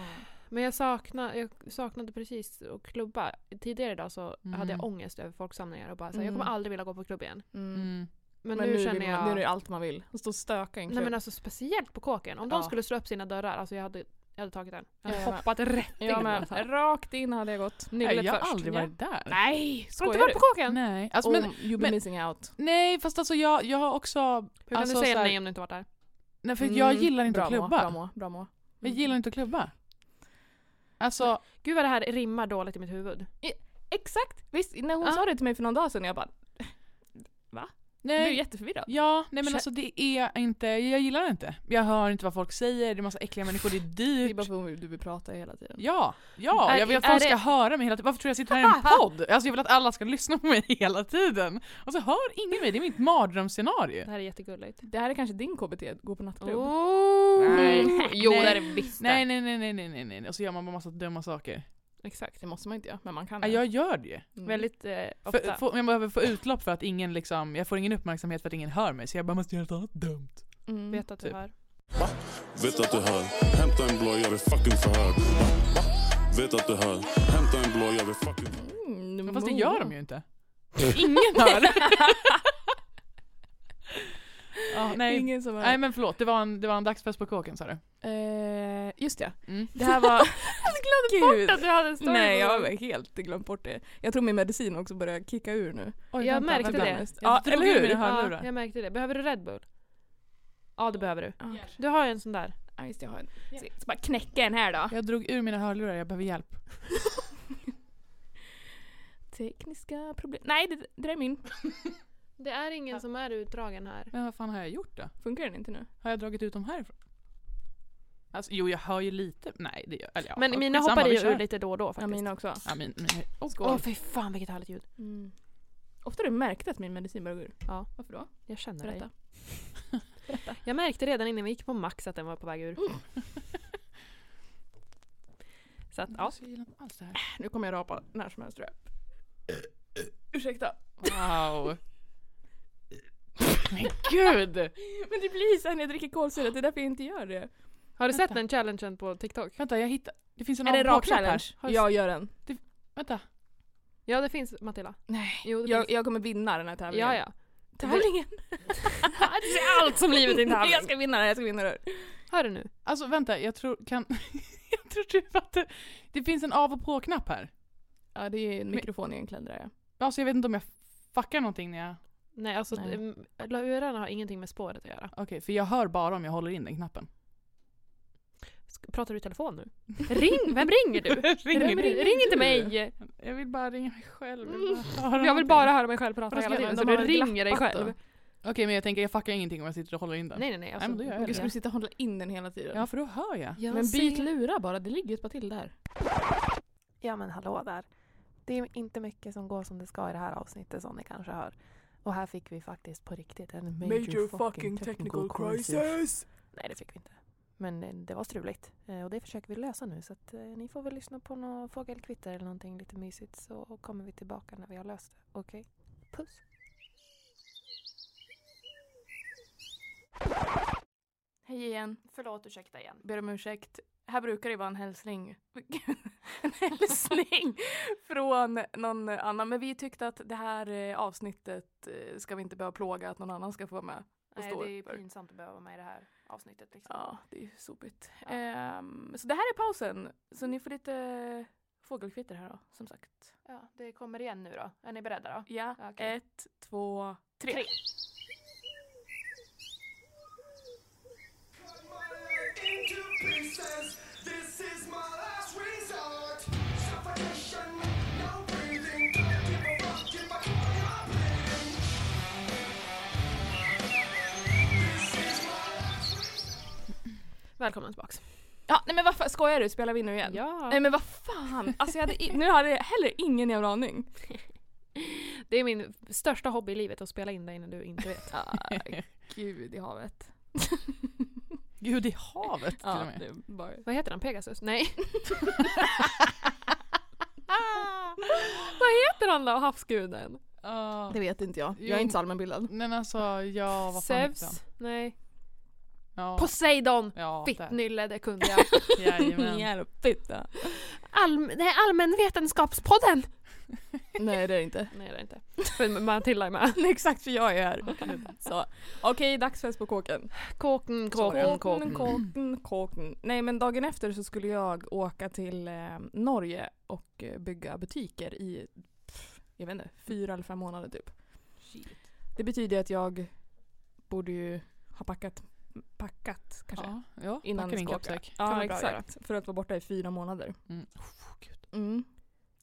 S4: Men jag, sakna, jag saknade precis att klubba. Tidigare idag så
S3: Mm.
S4: hade jag ångest över folksamlingar och bara såhär, jag
S2: Mm.
S4: kommer aldrig vilja gå på klubb igen.
S2: Mm.
S3: Mm.
S4: Men, nu, känner
S2: vill
S4: jag...
S2: man, nu är det allt man vill. Och stå och stöka i en
S4: nej men
S2: klubb.
S4: alltså speciellt på kåken. Om
S2: Ja.
S4: de skulle slå upp sina dörrar, alltså jag hade, jag hade tagit den. Jag hade
S2: Jag med.
S4: hoppat rätt in.
S2: Jag med. Rakt in hade jag gått.
S3: Nej,
S2: Nyllet
S3: jag har
S2: först.
S3: aldrig
S2: Ja.
S3: varit där.
S2: Nej,
S4: Har du
S2: skojar
S4: inte
S2: du?
S4: varit på kåken?
S3: Nej, alltså,
S2: Om
S3: men,
S2: you've been
S3: men-
S2: missing out.
S3: nej fast alltså jag, jag har också...
S4: Hur kan
S3: Alltså,
S4: du säga
S3: så här-
S4: nej om du inte varit där?
S3: Nej för jag
S2: Mm.
S3: gillar inte
S2: bra
S3: att
S2: Moa,
S3: klubba.
S2: Bra mm. Moa, bra Moa.
S3: Jag gillar inte att klubba. Alltså,
S4: Gud vad det här rimmar dåligt i mitt huvud.
S2: Exakt! Visst, när hon
S4: Ja.
S2: sa det till mig för någon dag sedan, jag bara
S3: nej.
S2: blev jätteförvirrad.
S3: Ja, nej men
S2: Kä-
S3: alltså det är inte, jag gillar det inte. Jag hör inte vad folk säger, det är massa äckliga människor, det är
S2: Det är bara
S3: dyrt.
S2: för att du vill prata hela tiden.
S3: Ja, ja,
S4: Är-
S3: jag vill att
S4: är
S3: folk
S4: det-
S3: ska höra mig hela tiden. Varför tror jag sitter här i en podd? Alltså jag vill att alla ska lyssna på mig hela tiden. Och så hör ingen mig, det är mitt mardrömsscenario.
S4: Det här är jättegulligt.
S2: Det här är kanske din KBT, gå på nattklubb.
S4: Oh.
S3: Nej.
S4: Jo
S3: Nej.
S4: det är det visst
S3: Nej,
S4: det.
S3: nej, nej, nej, nej, nej, nej. Och så gör man bara massa dumma saker.
S2: Exakt, det måste man inte göra, men man kan
S3: Ja,
S2: det.
S3: jag gör det.
S2: Mm.
S4: Väldigt eh, ofta.
S3: För, få, jag behöver få utlopp för att ingen liksom, jag får ingen uppmärksamhet för att ingen hör mig. Så jag bara måste göra något annat dumt.
S2: Mm.
S4: Vet att du
S3: typ.
S4: hör.
S7: Vet att du hör, hämta en blå, jag är fucking förhörd. Vet att du hör, hämta en blå, jag är fucking förhörd.
S2: Mm,
S3: Men fast det
S2: Moa.
S3: gör de ju inte. Ingen hör. ja, nej.
S2: Ingen som
S3: nej men förlåt, det var en, det var en dagsfest på kåken sa du?
S2: Eh, just det.
S3: Mm.
S2: Det här var...
S4: Jag glömde bort att du hade en story
S2: Nej,
S4: på
S2: jag
S4: gång.
S2: har helt glömt bort det. Jag tror min medicin också börjar kicka ur nu.
S3: Oj,
S4: Jag
S3: vänta,
S4: märkte
S3: vänta.
S4: det.
S3: Ja,
S2: Jag
S3: eller
S2: drog ur
S3: hur?
S2: mina
S3: hörlurar.
S4: Ja, jag märkte det. Behöver du Red Bull? Ja, det behöver du.
S2: Ja,
S4: Du har ju en sån där.
S2: ah, just det, jag har en. Så jag ska bara knäcka en här då.
S3: Jag drog ur mina hörlurar, jag behöver hjälp.
S2: Tekniska problem. Nej, det, det där är min.
S4: Det är ingen som är utdragen här.
S3: Men vad fan har jag gjort då?
S2: Funkar den inte nu?
S3: Har jag dragit ut dem härifrån? Alltså jo, jag hör ju lite. Nej, det gör eller, ja,
S4: Men mina
S3: skitsamma,
S4: hoppar
S3: vi
S4: i och
S3: kör.
S4: ur lite då och då
S2: Ja,
S4: faktiskt.
S2: min också.
S3: Ja, min, min, oh,
S4: Åh fy fan vilket härligt ljud.
S2: Mm. Ofta har du märkt att min medicin börjar gå ur.
S4: Ja.
S2: Varför då?
S4: Jag känner dig.
S2: Berätta.
S4: Jag märkte redan innan vi gick på Max att den var på väg ur. Så att, ja.
S3: Alltså, jag gillar inte alls det här.
S2: Nu kommer jag rapa när som helst tror jag. Ursäkta.
S3: Wow. Men gud!
S2: Men det blir så här när jag dricker kolsyra, det är därför jag inte gör det.
S4: Har du sett
S3: Vänta.
S4: den challengen på TikTok?
S3: Vänta, jag hittar... Det finns en
S2: är det
S3: avbakad
S2: rak challenge?
S3: här. Har du-
S2: Jag gör den.
S3: Vänta.
S4: Ja det finns Matilda.
S2: Nej.
S4: Jo, det
S2: Jag, jag kommer vinna den här
S4: finns.
S2: tävlingen.
S4: Ja ja.
S2: Tävlingen!
S4: Det är allt som livet inte
S2: jag
S4: har.
S2: ska vinna den, jag ska vinna den.
S4: Hör du nu?
S3: Alltså vänta, jag tror... Kan... jag tror typ att det... det finns en av och på-knapp här.
S2: Ja, det är en mikrofon i en klädare. ja.
S3: Alltså jag vet inte om jag fuckar någonting när jag...
S4: Nej alltså
S2: Nej.
S4: mm, lurarna har ingenting med spåret att göra.
S3: Okej, för jag hör bara om jag håller in den knappen.
S4: Sk- Pratar du i telefon nu? Ring! Vem ringer du?
S3: ringer
S4: Vem,
S3: du?
S4: ring, ring inte mig! Alltså,
S3: Jag vill bara ringa mig själv.
S4: jag vill bara
S3: bara
S4: Jag vill bara höra mig själv prata
S2: Fast
S4: hela
S2: jävlar,
S4: tiden
S2: de har
S4: så du
S2: väl
S4: ringer dig
S2: glappat då?
S4: själv.
S3: Okej, men jag tänker jag fuckar ingenting om jag sitter och håller in den.
S4: Nej nej nej. Alltså,
S3: men då gör jag
S2: Gud,
S3: det.
S2: ska du sitta och hålla in den hela tiden?
S3: Ja, för då hör jag.
S4: Jag
S2: Men byt
S4: ser-
S2: lura bara, det ligger ju ett par till där.
S8: Ja men hallå där. Det är inte mycket som går som det ska i det här avsnittet som ni kanske hör. Och här fick vi faktiskt på riktigt en major, fucking technical, crisis. Nej det fick vi inte. Men eh, det var struligt. Eh, Och det försöker vi lösa nu så att eh, ni får väl lyssna på någon fågelkvitter eller någonting lite mysigt så kommer vi tillbaka när vi har löst det. Okej? Puss!
S2: Hej igen.
S8: Förlåt, ursäkta igen.
S2: ber om ursäkt. Här brukar det vara en hälsning. en hälsning från någon annan. Men vi tyckte att det här eh, avsnittet eh, ska vi inte behöva plåga att någon annan ska få vara med. och
S8: Nej,
S2: stå
S8: det är
S2: för.
S8: pinsamt att behöva vara med i det här avsnittet. Liksom.
S2: Ja, det är ju sopigt. Ehm, så det här är pausen. Så ni får lite eh, fågelkvitter här då, som sagt.
S8: Ja, det kommer igen nu då. Är ni beredda då?
S2: Ja,
S8: Okej.
S2: ett, två, tre.
S8: Tre.
S4: Välkomna tillbaks.
S2: Ja, nej men vad fan, skojar du? Spelar vi nu igen? Nej
S4: Ja.
S2: men vad fan! Alltså jag hade i- nu hade jag heller ingen jävla aning.
S4: Det är min största hobby i livet att spela in dig när du inte vet.
S2: Ah, gud i havet.
S3: Gud, i havet till och
S2: Ja,
S3: med.
S2: det är bara...
S4: Vad heter han? Pegasus? Nej. Vad heter han då? Havsguden?
S3: Ja.
S2: Det vet inte jag.
S3: Jo.
S2: Jag är inte så allmänbildad.
S3: Nej men alltså, ja vad fan heter han?
S4: Zeus? Nej.
S3: Ja,
S4: Poseidon!
S3: ja, där.
S4: Fittnylle, det kunde jag.
S3: Jajamän.
S2: Jävla fitta.
S4: Allm- det är allmänvetenskapspodden!
S2: Nej det är det inte.
S4: Nej det är det inte. För Matilda är med.
S2: Nej, exakt för jag är här. Så. Okej, dagsfest på kåken.
S4: Kåken, kåken, Mm, kåken.
S2: kåken, kåken. Nej men dagen efter så skulle jag åka till eh, Norge och eh, bygga butiker i, pff, jag vet inte, fyra eller fem månader typ. Det betyder att jag borde ju ha packat, packat kanske.
S3: Ja, ja.
S2: Innan
S3: Innan
S2: vi
S3: din
S2: ska åka.
S3: kroppssäck.
S4: Kan
S2: Ja,
S4: vara bra att Oh,
S2: exakt. För att vara borta i fyra månader.
S3: Mm.
S2: Mm.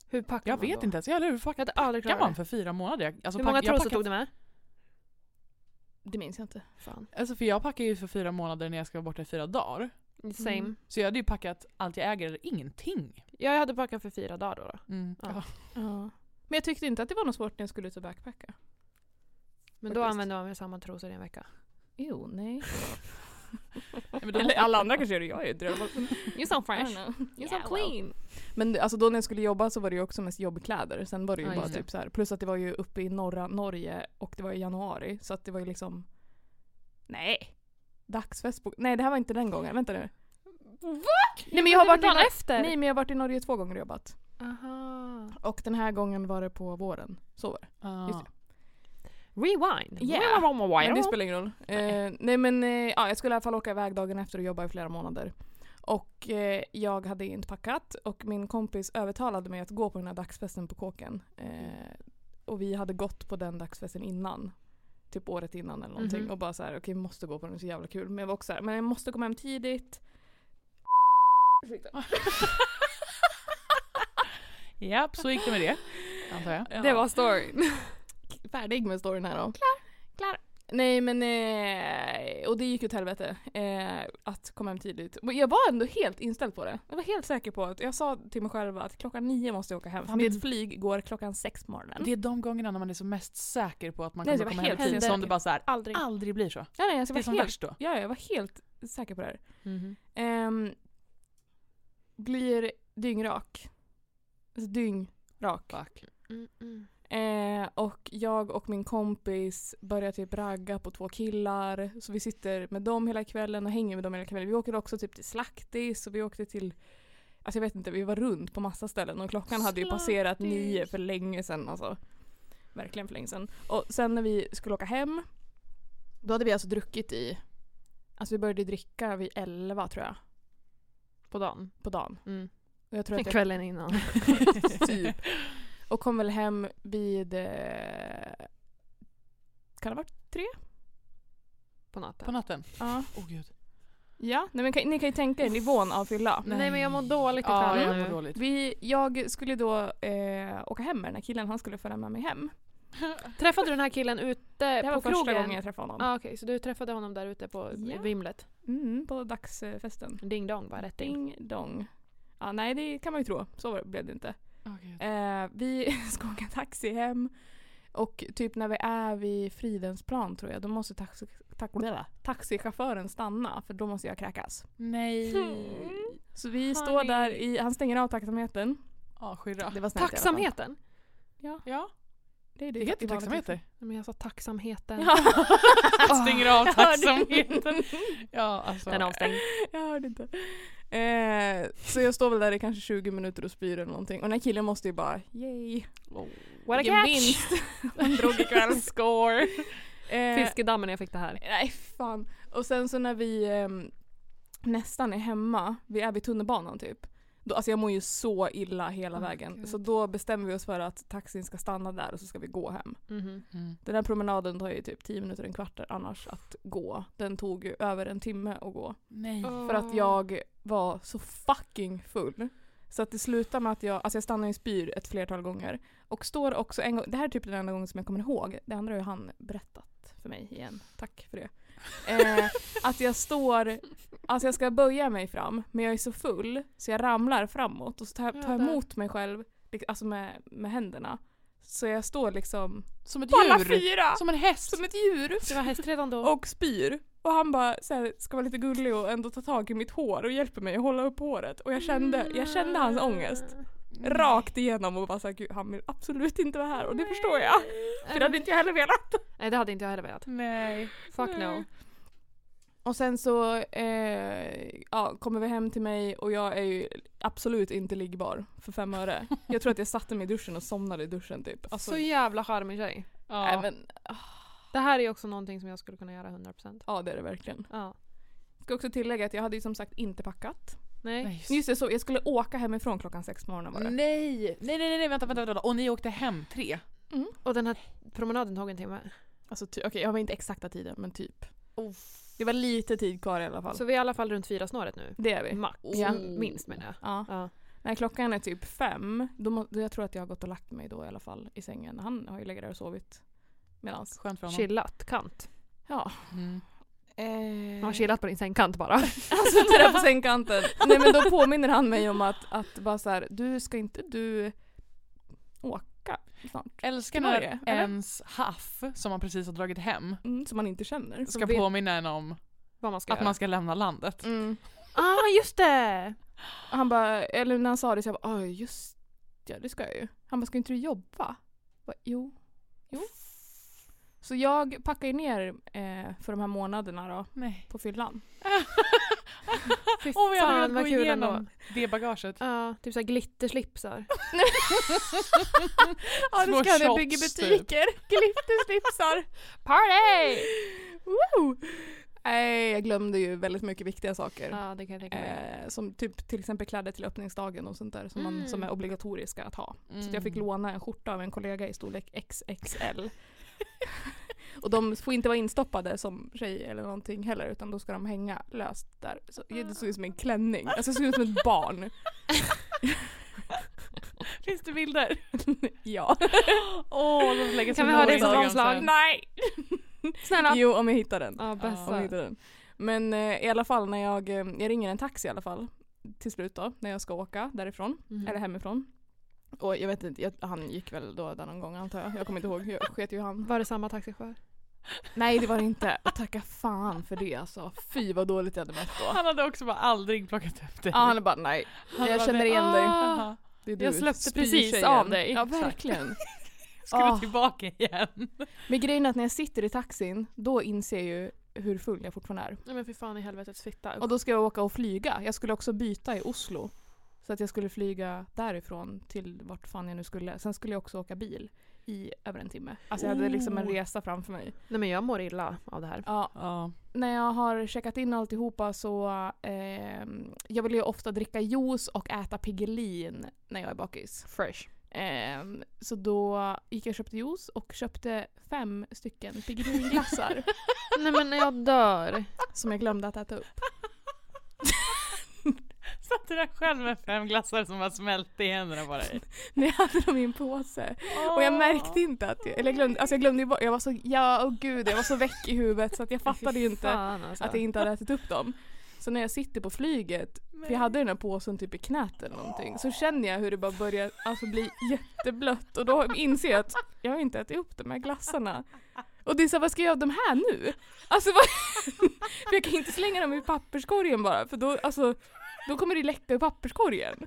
S4: Hur packar
S3: Jag
S4: man
S3: vet
S4: då?
S3: inte ens, jag hur
S4: Jag
S3: fuck
S4: hade aldrig
S3: packar man
S4: klarat det.
S3: för fyra månader? Jag- Alltså,
S4: Hur många
S3: pack- jag
S4: trosor
S3: packar-
S4: tog du med?
S2: Det minns jag inte.
S4: Fan.
S3: Alltså för jag packar ju för fyra månader när jag ska vara borta i fyra dagar.
S4: Same.
S2: Mm.
S3: Så jag hade ju packat allt jag äger, ingenting.
S4: Jag hade packat för fyra dagar då. då.
S3: Mm.
S4: Ja.
S3: Ja.
S2: Ja. Men jag tyckte inte att det var något svårt när jag skulle ut och backpacka.
S4: Men då
S2: Faktiskt.
S4: använde man väl samma trosor i en vecka.
S2: Jo, nej.
S3: Ja, men då-
S2: Eller alla andra kanske gör det, jag är drömmen.
S4: You sound
S2: I
S4: fresh.
S2: don't know.
S4: You're
S2: Yeah,
S4: so
S2: well.
S4: clean.
S2: Men det- alltså då när jag skulle jobba så var det ju också mest jobbkläder. Sen var det ju
S4: Ja,
S2: bara
S4: just det.
S2: typ så här. Plus att det var ju uppe i norra Norge och det var i januari. Så att det var ju liksom... Nej. Dagsfest på... Nej det här var inte den gången, vänta nu.
S4: What?
S2: Nej men jag har varit i,
S4: dagen
S2: Nor-
S4: efter.
S2: nej, men jag har varit i Norge två gånger och jobbat.
S4: Aha.
S2: Och den här gången var det på våren. Så var det. Just
S3: Ja.
S4: Rewind.
S2: Yeah. Men det
S4: Rewind.
S2: spelar ingen roll. Nej, eh, nej men eh, ja, jag skulle i alla fall åka iväg dagen efter och jobba i flera månader. Och eh, jag hade inte packat och min kompis övertalade mig att gå på den här dagsfesten på kåken. Eh, och vi hade gått på den dagsfesten innan. Typ året innan eller någonting.
S4: Mhm.
S2: Och bara så här, okej vi måste gå på den, det är så jävla kul. Men jag var också så här, men jag måste komma hem tidigt.
S3: Japp, så gick det med det. Antar jag.
S2: Det var storyn. Färdig med storyn här då. Klar. Klar. Nej men, eh, och det gick åt helvete eh, att komma hem tidigt. Men jag var ändå helt inställd på det. Jag var helt säker på att, jag sa till mig själv att klockan nio måste jag åka hem. För
S3: Fan, det-
S2: mitt flyg går klockan sex på morgonen.
S3: Det är de gångerna när man är som mest säker på att man
S2: Nej,
S3: kommer
S2: jag
S3: komma
S2: var
S3: hem
S2: helt
S3: tid
S2: säker.
S3: som det bara så här,
S4: Aldrig.
S3: aldrig blir så.
S2: nej, nej, alltså,
S3: Det är
S2: jag,
S3: som
S2: var helt,
S3: värst då.
S2: ja, jag var helt säker på det här.
S4: Mhm.
S2: Ehm, blir dyngrak. Alltså dyngrak.
S3: Fuck.
S4: Mm, mm.
S2: Eh, och jag och min kompis börjar typ ragga på två killar. Så vi sitter med dem hela kvällen och hänger med dem hela kvällen. Vi åker också typ till Slaktis och vi åkte till Alltså jag vet inte, vi var runt på massa ställen och klockan hade ju passerat
S4: Slaktis.
S2: nio för länge sedan alltså. Verkligen för länge sedan. Och sen när vi skulle åka hem, då hade vi alltså druckit i, alltså vi började dricka vid elva tror jag,
S4: På dagen.
S2: på dagen.
S4: Mm.
S2: Och jag tror att jag
S4: Kvällen innan.
S2: typ. Och kom väl hem vid... Eh, kan det ha varit tre?
S4: På natten.
S3: På natten.
S2: Ja.
S3: Åh gud.
S2: ja. Nej, men kan, ni kan ju tänka er nivån av fylla.
S4: Nej, men jag mår dåligt i
S3: Ja,
S4: själen
S3: jag mår
S4: nu.
S3: dåligt.
S2: Vi, jag skulle då eh, åka hem med den här killen, han skulle föra med mig hem.
S4: Träffade du den här killen
S2: Det
S4: ute
S2: här var
S4: Eh, på
S2: första
S4: krogen?
S2: gången jag träffade honom.
S4: ah, Okej, så du träffade honom där ute på
S2: Ja.
S4: vimlet?
S2: Mm, på dagsfesten.
S4: Ding dong, bara rätt in.
S2: Ding dong. Ja, nej, det kan man ju tro. Så var det- blev det inte.
S3: Åh, gud.
S2: Eh, vi ska åka taxi hem och typ när vi är vid Fridensplan tror jag, då måste taxi, ta, taxichauffören stanna för då måste jag kräkas.
S3: Nej.
S2: Så vi står där, i, han stänger av tacksamheten.
S3: Ja, skirra.
S2: Det var snällt i alla fall.
S4: Tacksamheten?
S3: Ja,
S2: Det, är typ
S3: det heter tacksamheter.
S4: Nej, Men jag sa tacksamheten. Ah.
S2: Ja.
S3: Stänger av
S2: Jag hörde
S3: tacksamheten.
S2: inte.
S3: Ja, alltså.
S4: Den är avstängd.
S2: Jag hörde inte. Eh, så jag står väl där i kanske 20 minuter och spyr eller någonting och den här killen måste ju bara yay.
S4: What a
S2: Vilken
S4: catch!
S2: vinst. Han drog ikväll.
S4: Score!
S2: Eh,
S4: Fiskedammen när jag fick det här.
S2: Nej fan. Och sen så när vi ehm, nästan är hemma, vi är vid tunnelbanan typ. Då, alltså jag mår ju så illa hela
S4: Åh,
S2: vägen.
S4: gud.
S2: Så då bestämmer vi oss för att taxin ska stanna där och så ska vi gå hem.
S4: Mhm.
S3: Mm.
S2: Den här promenaden tar ju typ 10 minuter, en kvart annars att gå. Den tog ju över en timme att gå.
S3: Nej.
S4: Mm.
S2: För att jag var så fucking full. Så att det slutar med att jag, alltså jag stannar i spyr ett flertal gånger. Och står också en gång, det här är typ den enda gången som jag kommer ihåg. Det andra har ju han berättat för mig igen. Tack för det. Eh, att jag står, alltså jag ska böja mig fram men jag är så full så jag ramlar framåt och så tar jag tar jag
S4: Jävlar.
S2: emot mig själv, lik- alltså med, med händerna. Så jag står liksom
S3: Som ett
S2: på alla
S3: djur.
S2: fyra! Som,
S3: Som en häst.
S2: ett djur!
S4: Det var häst redan då.
S2: och spyr. Och han bara så här, ska vara lite gullig och ändå ta tag i mitt hår och hjälper mig att hålla upp håret. Och jag kände, jag kände hans ångest
S4: Eh.
S2: rakt igenom och bara såhär gud han vill absolut inte vara här och det förstår jag. För det hade inte jag heller velat.
S4: Nej det hade inte jag heller velat.
S3: Nej.
S4: Fuck
S2: Nej.
S4: no.
S2: Och sen så eh, ja, kommer vi hem till mig och jag är ju absolut inte liggbar för fem öre. Jag tror att jag satte mig i duschen och somnade i duschen typ. Alltså,
S4: Så jävla charmig tjej.
S3: Ja.
S2: nej, men,
S4: Det här är också någonting som jag skulle kunna göra 100%.
S2: ja det är det verkligen.
S4: Ja.
S2: Ska också tillägga att jag hade ju som sagt inte packat.
S4: Nej.
S3: Nej.
S2: Just det, så jag skulle åka hemifrån klockan sex på morgonen var det.
S3: Nej. nej, nej, nej, nej, vänta, vänta, vänta. Och ni åkte hem tre?
S4: Och den här promenaden tog en timme.
S2: Alltså ty- okej, jag har inte exakta tiden men typ. Det var lite tid kvar i alla fall.
S4: Så vi är i alla fall runt fyra snåret nu.
S2: det är vi.
S4: Max.
S2: Ja.
S4: Minst menar jag.
S2: Ja.
S4: Ja.
S2: När klockan är typ fem, då må- då jag tror att jag har gått och lagt mig då i alla fall i sängen. Han har ju legat där och sovit. Medans.
S3: Skönt för honom.
S4: Chillat kant.
S2: Ja.
S3: Mm.
S2: Eh.
S4: Han har chillat på din sängkant bara.
S2: Alltså det där på sängkanten. Nej men då påminner han mig om att, att bara så här, du ska inte du åka snart?
S3: Älskar
S2: Till
S3: när
S2: Norge, eller?
S3: ens haff, som man precis har dragit hem,
S2: Mm, som man inte känner.
S3: ska
S4: vet-
S3: påminna en om
S4: Vad man ska
S3: att
S4: göra.
S3: man ska lämna landet.
S2: Mm.
S4: Ah just det!
S2: Han bara, eller när han sa det så jag bara, "Oj, just ja det ska jag ju. Han bara, ska inte du jobba? Jag bara, jo. jo. Så jag packar ju ner eh, för de här månaderna då,
S3: Nej.
S2: på fyllan.
S4: Fy
S3: Om jag hade
S4: fan
S3: velat
S4: vad
S3: gå
S4: kul ändå.
S3: igenom det bagaget.
S4: Ja, typ såhär glitterslipsar.
S2: Ja
S3: Små
S2: det ska jag
S3: shots,
S2: bygga
S3: typ.
S2: butiker, glitterslipsar, party! Woo! Nej, jag glömde ju väldigt mycket viktiga saker.
S4: Ja det kan jag tänka mig.
S2: Eh, som typ till exempel kläder till öppningsdagen och sånt där som, man,
S4: Mm.
S2: som är obligatoriska att ha. Så att jag fick
S3: Mm.
S2: låna en skjorta av en kollega i storlek XXL. och de får inte vara instoppade som tjej eller någonting heller utan då ska de hänga löst där. Så, det såg ut som en klänning, alltså det såg ut som ett barn.
S3: Finns det bilder?
S2: ja. liksom
S3: Åh, de lägger
S4: Kan
S3: på
S4: vi ha det som
S3: Instagram
S4: omslag?
S3: sen.
S2: Nej!
S4: Snälla!
S2: Jo om jag hittar den.
S4: Ja
S2: Om jag
S4: bästa.
S2: hittar den. Men eh, i alla fall när jag, eh, jag ringer en taxi i alla fall till slut då när jag ska åka därifrån.
S4: Mhm.
S2: Eller hemifrån. Mm. Och jag vet inte, jag, han gick väl då där någon gång antar jag. Jag kommer inte ihåg, jag sket ju i han.
S4: Var det samma taxichaufför?
S2: Nej det var det inte. Och tacka fan för det alltså. Fy vad dåligt jag hade mött då.
S3: Han hade också bara aldrig plockat upp dig.
S2: Ja, han är bara nej.
S3: Han
S2: jag
S3: bara,
S2: känner igen dig.
S3: "Ah,
S2: Det är du,
S3: jag släppte
S2: spyr
S3: precis
S2: tjejen."
S3: av dig.
S2: Ja
S3: Exakt.
S2: verkligen.
S3: Ska du
S2: Ah.
S3: tillbaka igen?
S2: Men grejen är att när jag sitter i taxin då inser jag ju hur full jag fortfarande är.
S4: Nej men fy fan i helvetets fitta.
S2: Och då ska jag åka och flyga. Jag skulle också byta i Oslo. Så att jag skulle flyga därifrån till vart fan jag nu skulle. Sen skulle jag också åka bil i över en timme. Alltså jag hade liksom en
S3: Oh.
S2: resa framför mig.
S4: Nej men jag mår illa av det här.
S2: Ja,
S3: Ja.
S2: när jag har checkat in alltihopa så eh, jag vill ju ofta dricka juice och äta Piggelin när jag är bakis.
S4: Fresh.
S2: Eh, så då gick jag och köpte juice och köpte fem stycken Piggelinglassar
S4: Nej men jag dör.
S2: som jag glömde att äta upp.
S3: Satt du där själv med fem glassar som har smält i händerna på dig?
S2: När jag hade dem i en påse. Och jag märkte inte att jag, eller jag glömde, alltså jag glömde ju bara, jag var så, ja åh gud, jag var så väck i huvudet så att jag fattade ju inte
S4: Fan, alltså.
S2: att jag inte hade ätit upp dem. Så när jag sitter på flyget, för jag hade den här påsen typ i knät eller någonting, så känner jag hur det bara börjar alltså, bli jätteblött och då inser jag att jag har inte ätit upp de här glassarna. Och det är så här, vad ska jag göra av de här nu? Alltså vad, för jag kan inte slänga dem i papperskorgen bara för då, alltså, då kommer det läcka ur papperskorgen.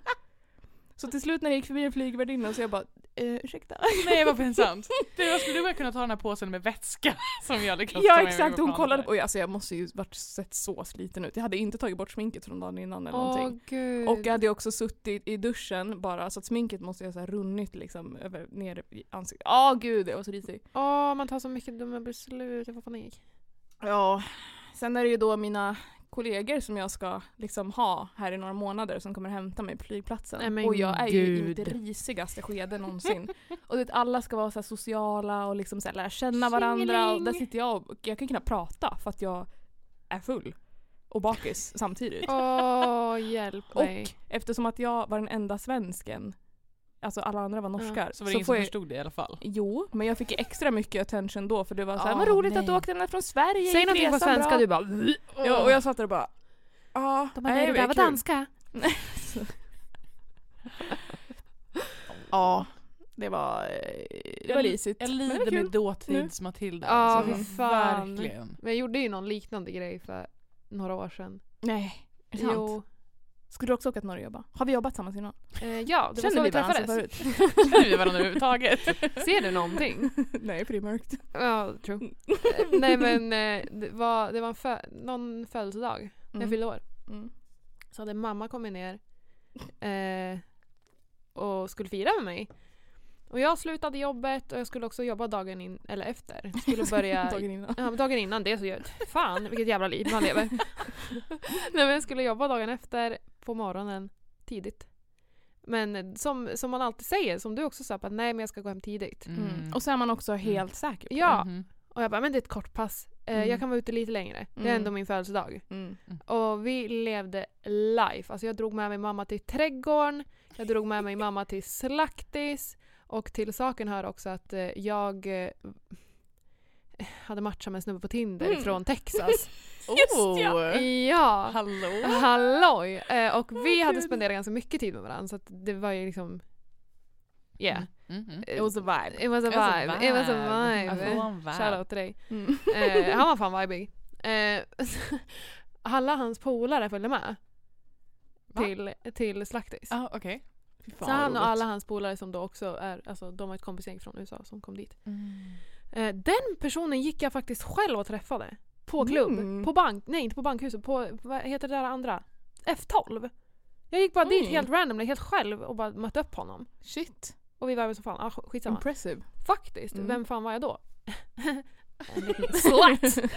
S2: Så till slut när jag gick förbi en flygvärdinna så jag bara, eh, ursäkta?
S3: Nej vad pinsamt. Du, jag skulle bara kunna ta den här påsen med vätska som jag lyckades ta
S2: Ja
S3: med mig
S2: exakt,
S3: på
S2: hon
S3: planet
S2: kollade
S3: där.
S2: på, alltså jag måste ju varit sett så sliten ut. Jag hade inte tagit bort sminket från dagen innan eller
S4: Åh
S2: någonting.
S4: gud.
S2: Och jag hade ju också suttit i duschen bara så att sminket måste ju ha så här runnit liksom över, ner i ansiktet. Ja gud, jag var så risig.
S4: Åh, man tar så mycket dumma beslut. Jag får panik.
S2: Ja. Sen är det ju då mina kollegor som jag ska liksom ha här i några månader som kommer hämta mig på flygplatsen.
S4: Nej, men
S2: och jag är ju i mitt
S4: gud.
S2: risigaste skede någonsin. och du vet, alla ska vara så här sociala och liksom så här lära känna varandra. Och där
S4: Tjingeling.
S2: sitter jag och jag kan knappt prata för att jag är full och bakis samtidigt.
S4: Åh, hjälp mig.
S2: Och eftersom att jag var den enda svensken, alltså alla andra var norskar,
S3: Så var det ingen som
S2: får jag,
S3: förstod det i alla fall.
S2: Jo, men jag fick ju extra mycket attention då för det var såhär,
S3: Ah,
S2: vad roligt
S3: nej.
S2: att du åkte ända från Sverige,
S4: Säg
S2: gick
S4: någonting på
S2: resan
S4: svenska,
S2: bra?
S4: du bara...
S2: Ja, och jag satt där och bara, ja,
S4: De bara, nej, det
S2: men
S4: där var
S2: kul."
S4: danska.
S8: Ja, det var... eh,
S2: Det var risigt.
S3: Jag
S2: men det var
S3: lider
S2: kul.
S3: med dåtids-Matilda.
S4: Mm. Ja,
S3: alltså.
S4: fy fan.
S3: Verkligen.
S4: Men jag gjorde ju någon liknande grej för några år sedan.
S2: Nej, är det sant?
S4: Jo,
S2: Skulle du också åka till Norge och jobba? Har vi jobbat tillsammans innan?
S4: eh, ja, det var så vi
S2: varandra
S4: träffades.
S2: förut?
S3: Känner vi varandra överhuvudtaget?
S4: Ser du någonting?
S2: Nej, för det är mörkt.
S4: Ja, true.
S2: Mm.
S4: Eh, Nej men eh, det var, det var en fö- någon födelsedag när jag
S2: Mm.
S4: fyllde år.
S2: Mm.
S4: Så hade mamma kommit ner eh, och skulle fira med mig. Och jag slutade jobbet och jag skulle också jobba dagen in, eller efter. Skulle börja
S2: Dagen innan.
S4: Ja, men dagen innan det så gör Fan vilket jävla liv man lever. Nej men jag skulle jobba dagen efter på morgonen tidigt. Men som, som man alltid säger, som du också sa, bara, nej men jag ska gå hem tidigt.
S2: Mm. Och så är man också helt säker. på det.
S4: Ja,
S3: Mhm.
S4: och jag bara men det är ett kort pass. Eh,
S2: Mm.
S4: Jag kan vara ute lite längre. Det är
S2: Mm.
S4: ändå min födelsedag.
S2: Mm.
S4: Och vi levde life. Alltså jag drog med mig mamma till trädgården, jag drog med mig mamma till slaktis och till saken hör också att eh, jag eh, hade matchat med en snubbe på Tinder
S2: Mm.
S4: från Texas.
S2: Just ja.
S3: Oh.
S4: ja!
S3: Hallå!
S4: Halloj! Eh, och vi
S2: Vad
S4: hade
S2: kul.
S4: spenderat ganska mycket tid med varandra så att det var ju liksom... Mm. Yeah.
S3: Mhm.
S4: It was a Eh, vibe. It was a
S3: It was a
S4: vibe. It was a
S3: vibe. Alltså, I feel
S4: vibe.
S3: on vibe.
S4: Shoutout till dig.
S2: Mm.
S4: Eh, han var fan vibig. Eh, alla hans polare följde med.
S3: Va?
S4: Till, till slaktis.
S3: Ah, okej. Fy fan,
S4: så han
S3: roligt.
S4: och alla hans polare som då också är, alltså de har ett kompisgäng från USA som kom dit.
S3: Mm.
S4: Eh, den personen gick jag faktiskt själv och träffade. På klubb.
S2: Mm.
S4: På bank, nej inte på bankhuset, på vad heter det där andra? F12. Jag gick bara dit
S2: Oj.
S4: helt randomly, helt själv och bara mötte upp honom.
S2: Shit.
S4: Och vi var väl som fan, ah, sk- skitsamma.
S2: Impressive.
S4: Faktiskt,
S2: Mm.
S4: vem fan var jag då? en liten slut!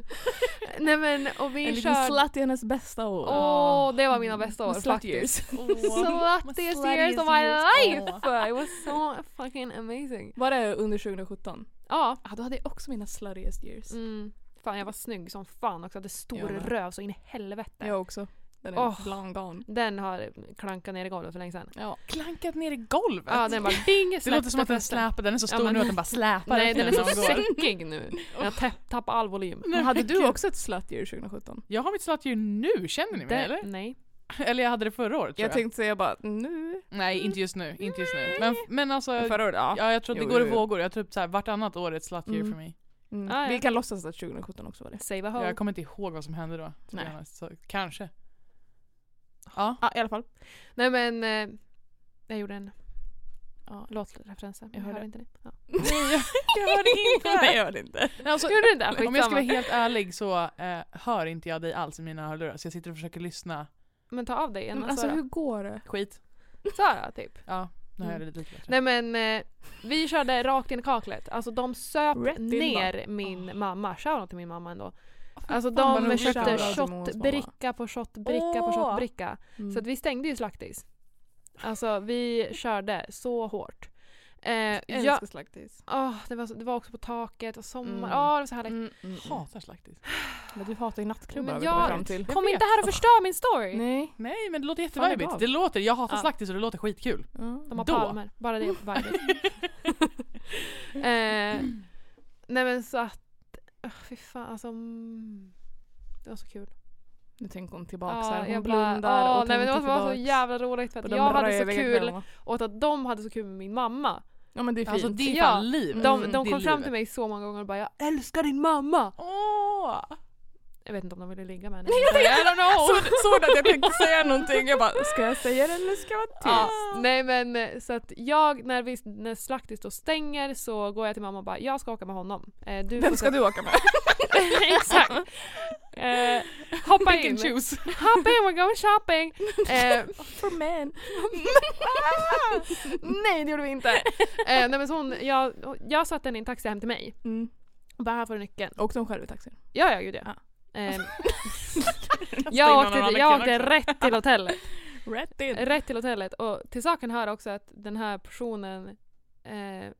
S4: Nej men och vi
S2: En liten
S4: körde...
S2: slatt i hennes bästa år.
S4: Åh, det var mina bästa år
S2: Slut
S4: faktiskt.
S2: years.
S4: Sluttiest years of my life! It was so fucking amazing.
S2: Var det under 2017?
S4: Ja.
S2: Ja, då hade jag också mina sluttiest years.
S4: Mm. Fan jag var snygg som fan också, hade stor
S2: Jag med.
S4: röv så in i helvete.
S2: Jag också. Den är
S4: Åh.
S2: long gone.
S4: Den har klankat ner i golvet för länge sedan.
S2: Ja.
S3: Klankat ner i golvet.
S4: Ja den bara ding
S3: det låter som att den släpar, den är så stor
S4: men-
S3: nu att den bara släpar
S4: Nej
S3: efter
S4: den är så
S3: när man går.
S4: säckig nu. Den har tapp- tappat all volym.
S2: Men hade du också ett slut year 2017?
S3: Jag har mitt slatdjur nu, känner ni mig eller?
S4: Nej.
S3: Eller jag hade det förra året tror jag.
S2: Jag tänkte säga bara nu.
S3: Nej, inte just nu. Inte just nu. Men, men alltså,
S2: Förra året, ja.
S3: ja, jag tror att det
S2: Jo,
S3: går i
S2: jo, jo.
S3: vågor. Jag tror typ så här, vartannat år är ett slatdjur
S2: Mm.
S3: för mig.
S2: Mm.
S4: Ah, ja.
S2: Vi kan låtsas att 2017 också var det.
S4: Save a hoe.
S3: Jag kommer inte ihåg vad som hände då. to be
S2: Nej.
S3: honest. Så, kanske. Ja.
S4: Ja, i alla fall. Nej men, eh, jag gjorde en
S2: Ja.
S4: låtreferens där, men
S2: Jag
S4: jag
S2: hörde.
S4: hörde inte det. Ja.
S3: jag, jag hörde inte.
S2: Nej, jag hörde inte.
S3: Nej, alltså,
S4: Gjorde du inte?
S3: om jag ska vara
S4: Skitsamma.
S3: helt ärlig så eh, hör inte jag dig alls i mina hörlurar. Så jag sitter och försöker lyssna.
S4: Men ta av dig en
S2: Men alltså
S4: Sara.
S2: hur går det?
S3: Skit.
S4: Sara typ.
S3: Ja, nu har jag det lite bättre.
S4: Nej men, eh, vi körde rakt in i kaklet. Alltså de söp
S2: Rätt in
S4: ner min mamma. Shoutout till min mamma ändå. Alltså
S2: vad
S4: de
S2: roligt.
S4: köpte
S2: Shoutout till Moas mamma.
S4: shotbricka på shotbricka på
S3: Åh.
S4: shotbricka.
S2: Mm.
S4: Så att vi stängde ju slaktis. Alltså vi körde så hårt. Eh,
S2: jag
S4: jag,
S2: älskar slaktis.
S4: åh, det, var så, det var också på taket och sommar.
S2: Mm.
S4: Åh, det var så härligt.
S3: Hatar slaktis.
S2: Men du hatar ju nattklubbar.
S4: Men
S2: har vi kommit
S4: jag-
S2: fram till.
S4: Kom
S3: vet.
S4: inte här och förstör min story!
S2: Nej.
S3: Nej men det låter
S2: vad
S3: jättevibigt.
S2: bra.
S3: Det låter, jag hatar
S4: Ja.
S3: slaktis och det låter skitkul.
S2: Ja.
S4: De har
S3: Då.
S4: palmer, bara det är vibigt. eh, nej men så att, oh, fy fan alltså. mm, Det var så kul.
S2: Nu tänker hon tillbaka
S4: Ja,
S2: här. Hon
S4: jag
S2: blundar
S4: åh,
S2: och
S4: nej,
S2: tänker
S4: men Det var så
S2: tillbaks
S4: jävla roligt för
S2: på
S4: att
S2: de
S4: jag hade så
S2: röviga
S4: kul
S2: kvällarna.
S4: och att de hade så kul med min mamma.
S2: Ja men det är fint.
S3: Alltså det är
S4: Ja,
S3: fan liv.
S4: De,
S2: Mm,
S4: de
S3: Det är
S4: kom fram
S3: livet.
S4: till mig så många gånger och bara “Jag älskar din mamma!”
S3: Åh!
S4: Jag vet inte om de ville ligga med henne.
S2: Nej, jag tänkte, I don't know. Såg, såg du att jag tänkte säga någonting? Jag bara, ska jag säga det eller ska jag vara tyst?
S4: Ja, nej men eh, så att jag, när, vi, när slaktis då stänger så går jag till mamma och bara “Jag ska åka med honom. Eh, du får
S2: Vem ska
S4: sätta-
S2: du åka med?
S4: Exakt. Eh, hoppa
S2: Pick
S4: in.
S2: and choose.
S4: Hoppa in, we're going shopping. Eh,
S2: For men.
S4: nej det gjorde vi inte. Eh, nej, men så hon, jag, jag satte henne i en taxi hem till mig.
S2: Mm.
S4: Och bara här får du nyckeln.
S2: Åkte hon själv i taxin?
S4: Ja, jag gjorde det. Ehm,
S3: någon
S4: jag åkte,
S3: annan
S4: jag
S3: kille
S4: åkte
S3: också.
S4: rätt till hotellet.
S3: Rätt in.
S4: Rätt till hotellet. Och till saken hör också att den här personen eh,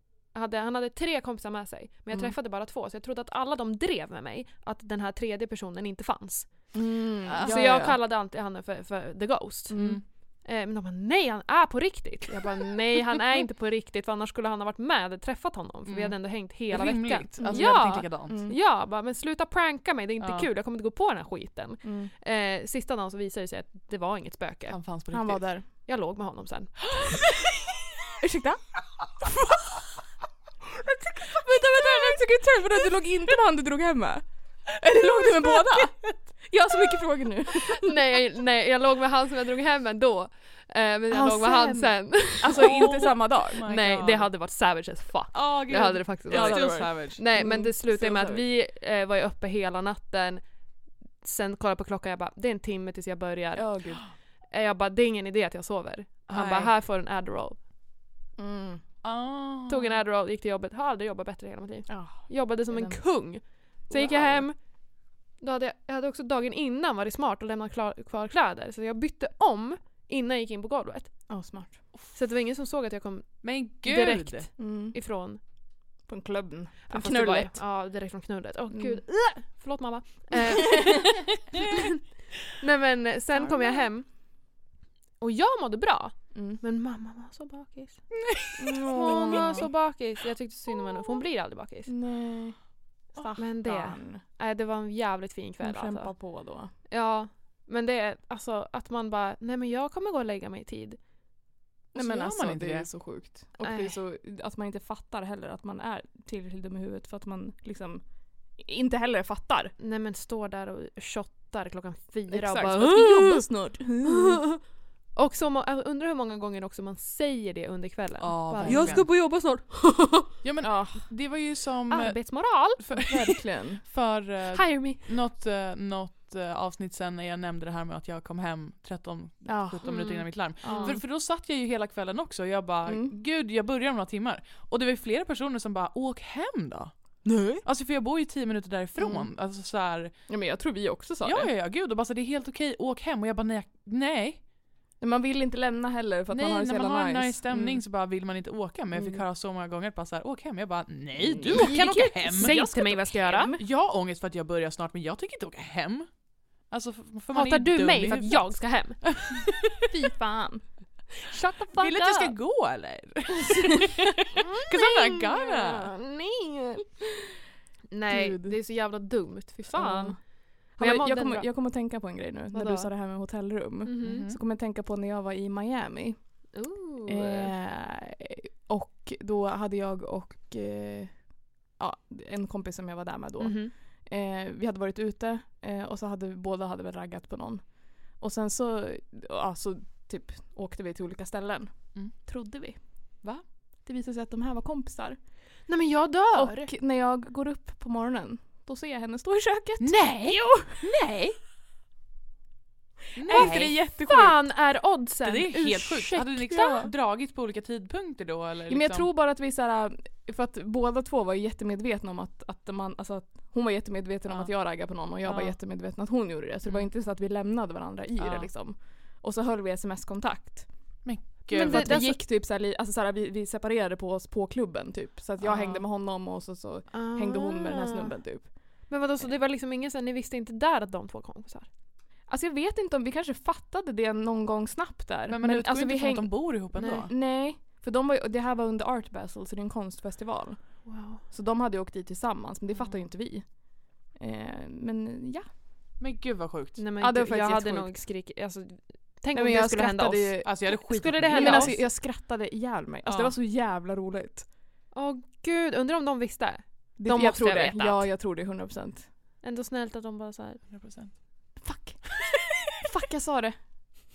S4: hade, han hade tre kompisar med sig. Men jag
S2: Mm.
S4: träffade bara två så jag trodde att alla de drev med mig att den här tredje personen inte fanns.
S2: Mm,
S4: så jag kallade alltid han för, för the ghost.
S2: Mm.
S4: Eh, men de bara nej han är på riktigt. Jag bara nej han är inte på riktigt för annars skulle han ha varit med och träffat honom för vi
S3: Mm.
S4: hade ändå hängt hela
S3: Rimligt.
S4: veckan.
S3: Alltså, jag hade
S4: ja!
S3: tänkt likadant.
S2: Mm.
S4: Ja, bara, men sluta pranka mig, det är inte
S3: Ja.
S4: kul, jag kommer inte gå på den här skiten.
S2: Mm.
S4: Eh, sista dagen så visade det sig att det var inget spöke.
S3: Han fanns på riktigt.
S2: Han var där.
S4: Jag låg med honom sen.
S2: Ursäkta? Jag tycker- vänta, vänta, jag tycker inte Vänta, du låg inte med han du drog hem med? Eller låg du med båda? Jag har så mycket frågor nu.
S4: nej, nej, jag låg med han som jag drog hem ändå. Eh, men jag
S2: Ah,
S4: låg med han sen.
S2: Alltså inte samma dag.
S3: Oh my
S4: nej,
S3: God.
S4: det hade varit savage as fuck.
S3: Åh, gud.
S4: Det hade det faktiskt
S3: Ja,
S4: varit.
S3: still
S2: varit.
S3: savage.
S4: Nej
S2: Mm,
S4: men det slutade
S2: still
S4: med att
S2: savage.
S4: vi eh, var ju uppe hela natten. Sen kollade jag på klockan jag bara det är en timme tills jag börjar.
S2: Ja, gud.
S4: Eh, Jag bara det är ingen idé att jag sover. Han
S2: Nej.
S4: bara här får du en Adderall.
S2: Mm.
S3: Ah.
S4: Tog en Adderall, gick till jobbet, har aldrig jobbat bättre i hela mitt liv.
S2: Ja.
S4: Jobbade som
S2: Det är
S4: en
S2: den-
S4: kung. Sen gick jag
S2: Wow.
S4: hem. Då hade jag, jag hade också dagen innan varit smart och lämnat klar, kvar kläder. Så jag bytte om innan jag gick in på golvet.
S2: Ja, smart.
S4: Så att det var ingen som såg att jag kom
S3: Men gud!
S4: direkt
S2: Mm.
S4: ifrån
S2: På en klubben.
S4: ja,
S2: Från
S4: fast det var ju-
S2: knullet.
S4: Ja, direkt från knullet. Åh
S2: Mm.
S4: gud. Äh! Förlåt mamma. Eh, Nej men eh, sen kom jag hem och jag mådde bra.
S2: Mm.
S4: Men mamma var så bakis. Hon var så
S2: Åh,
S4: bakis. Jag tyckte synd om henne för hon blir aldrig bakis.
S2: nej.
S4: Men det,
S2: Fan.
S4: nej, det var en jävligt fin
S2: Hon
S4: kväll
S2: kämpar
S4: alltså.
S2: på då.
S4: Ja. Men det är alltså att man bara, nej men jag kommer gå och lägga mig i tid.
S2: Nej
S3: så
S2: men
S3: gör
S2: alltså
S3: man inte
S2: det
S3: det.
S2: är så sjukt. Och det
S4: Nej.
S2: är så, att man inte fattar heller att man är tillräckligt dum i huvudet för att man liksom inte heller fattar.
S4: Nej men står där och shottar klockan fyra
S2: Exakt,
S4: och bara
S2: för att vi jobbar snart.
S4: Mm. Och så, må- jag undrar hur många gånger också man säger det under kvällen.
S3: Ja,
S4: bara,
S3: verkligen.
S4: jag ska på jobba snart.
S3: Ja men
S4: Ah.
S2: Ja,
S3: det var ju som eh,
S4: Arbetsmoral!
S3: för,
S2: verkligen.
S3: för eh,
S4: Hire me!
S3: något, eh, något eh, avsnitt sen när jag nämnde det här med att jag kom hem 13-17
S2: Ja.
S3: minuter
S4: Mm.
S3: innan mitt larm.
S4: Ja.
S3: För, för då satt jag ju hela kvällen också och jag bara
S2: Mm.
S3: gud jag börjar om några timmar. Och det var ju flera personer som bara åk hem då.
S2: Nej.
S3: Alltså för jag bor ju 10 minuter därifrån.
S2: Mm.
S3: Alltså så här,
S2: Ja, men jag tror vi också sa
S3: ja ja
S2: det.
S3: ja gud och bara så, det är helt okej åk hem och jag bara nej. nej.
S2: Men man vill inte lämna heller för att man har
S3: Nej,
S2: det så
S3: när man
S2: jävla
S3: har en
S2: nice.
S3: nice stämning
S2: Mm.
S3: så bara vill man inte åka men jag fick
S2: Mm.
S3: höra så många gånger att bara så här, åk hem. Jag bara nej du
S2: Nej,
S3: kan
S2: gud,
S3: åka hem.
S4: Säg
S3: Jag ska
S4: till mig vad jag ska göra.
S2: Hem.
S3: Jag har ångest för att jag börjar snart men jag tänker inte åka hem. Alltså för för man
S4: Hatar
S3: är
S4: du
S3: dum
S4: mig
S3: i
S4: för att
S3: huvudet.
S4: jag ska hem?
S2: Fy fan.
S4: Shut the fuck
S3: Vill du att jag ska gå eller? Cause I'm not gonna.
S4: Mm. Nej! Nej,
S2: Gud.
S4: det är så jävla dumt. Fy fan.
S2: Ja. Men
S4: Men jag
S2: jag,
S4: mådde
S2: jag,
S4: bra.
S2: kommer, jag kommer att tänka på en grej nu
S4: Vadå?
S2: när du sa det här med hotellrum.
S4: Mhm.
S2: Så kommer jag tänka på när jag var i Miami. Eh, och då hade jag och eh, ja, en kompis som jag var där med
S3: Mm.
S2: då.
S4: Mhm.
S2: Eh, vi hade varit ute eh, och så hade vi, båda hade väl raggat på någon. Och sen så, ja, så typ åkte vi till olika ställen.
S3: Mm.
S2: Trodde vi.
S3: Va?
S2: Det visade sig att de här var kompisar.
S4: Nej men jag dör!
S2: Och när jag går upp på morgonen då ser jag henne stå i köket.
S3: Nej!
S2: Jo!
S3: Nej!
S2: Är inte det jättesjukt?
S4: fan är oddsen?
S3: Det är helt sjukt. Hade ni liksom dragit på olika tidpunkter då eller?
S2: Ja, men jag
S3: liksom-
S2: tror bara att vi såhär, för att båda två var ju jättemedvetna om att, att man, alltså att hon var jättemedveten om
S3: Ja.
S2: att jag raggade på någon och jag var
S3: Ja.
S2: jättemedveten att hon gjorde det. Så det var
S3: Mm.
S2: inte så att vi lämnade varandra i
S3: Ja.
S2: det liksom. Och så höll vi sms-kontakt.
S3: Gud,
S4: Men
S2: För
S3: vad-
S2: att
S4: det-
S2: vi
S4: alltså-
S2: gick typ såhär, li- alltså såhär, vi, vi separerade på oss på klubben typ. Så att jag
S3: Ja. Ah.
S2: hängde med honom och så, så hängde hon med den här snubben typ.
S4: Ah. Men vadå, så det var liksom ingen sen, ni visste inte där att de två kom kompisar?
S2: Alltså jag vet inte om, vi kanske fattade det någon gång snabbt där.
S3: men man utgår
S2: alltså,
S3: inte
S2: vi
S3: från
S2: häng-
S3: att de bor ihop ändå.
S4: Nej.
S2: Nej, för de var, ju- det här var under Art Basel så det är en konstfestival.
S4: Wow.
S2: Så de hade ju åkt dit tillsammans men det fattar ju inte vi. Eh, men ja.
S3: Men gud vad sjukt.
S4: Nej men
S2: Ja, det var
S4: gud, jag
S2: faktiskt
S4: hade
S2: jättesjukt.
S4: nog skrikit, alltså, tänk
S2: Nej, men
S4: om det
S2: jag
S4: skulle hända oss.
S2: skrattade ju.
S3: Alltså jag hade skitit
S4: Skulle det
S3: ner
S2: Nej,
S4: hända
S2: men
S3: mig.
S4: oss?
S2: alltså, jag skrattade ihjäl mig. Alltså,
S3: Ja.
S2: Det var så jävla roligt.
S4: Åh gud, undrar om de visste?
S2: Det,
S4: De
S2: jag
S4: måste
S2: tror
S4: ha
S2: det.
S4: vetat.
S2: Ja, jag tror det 100 procent.
S4: Ändå snällt att de bara såhär,
S3: 100%.
S2: Fuck. Fuck, jag sa det.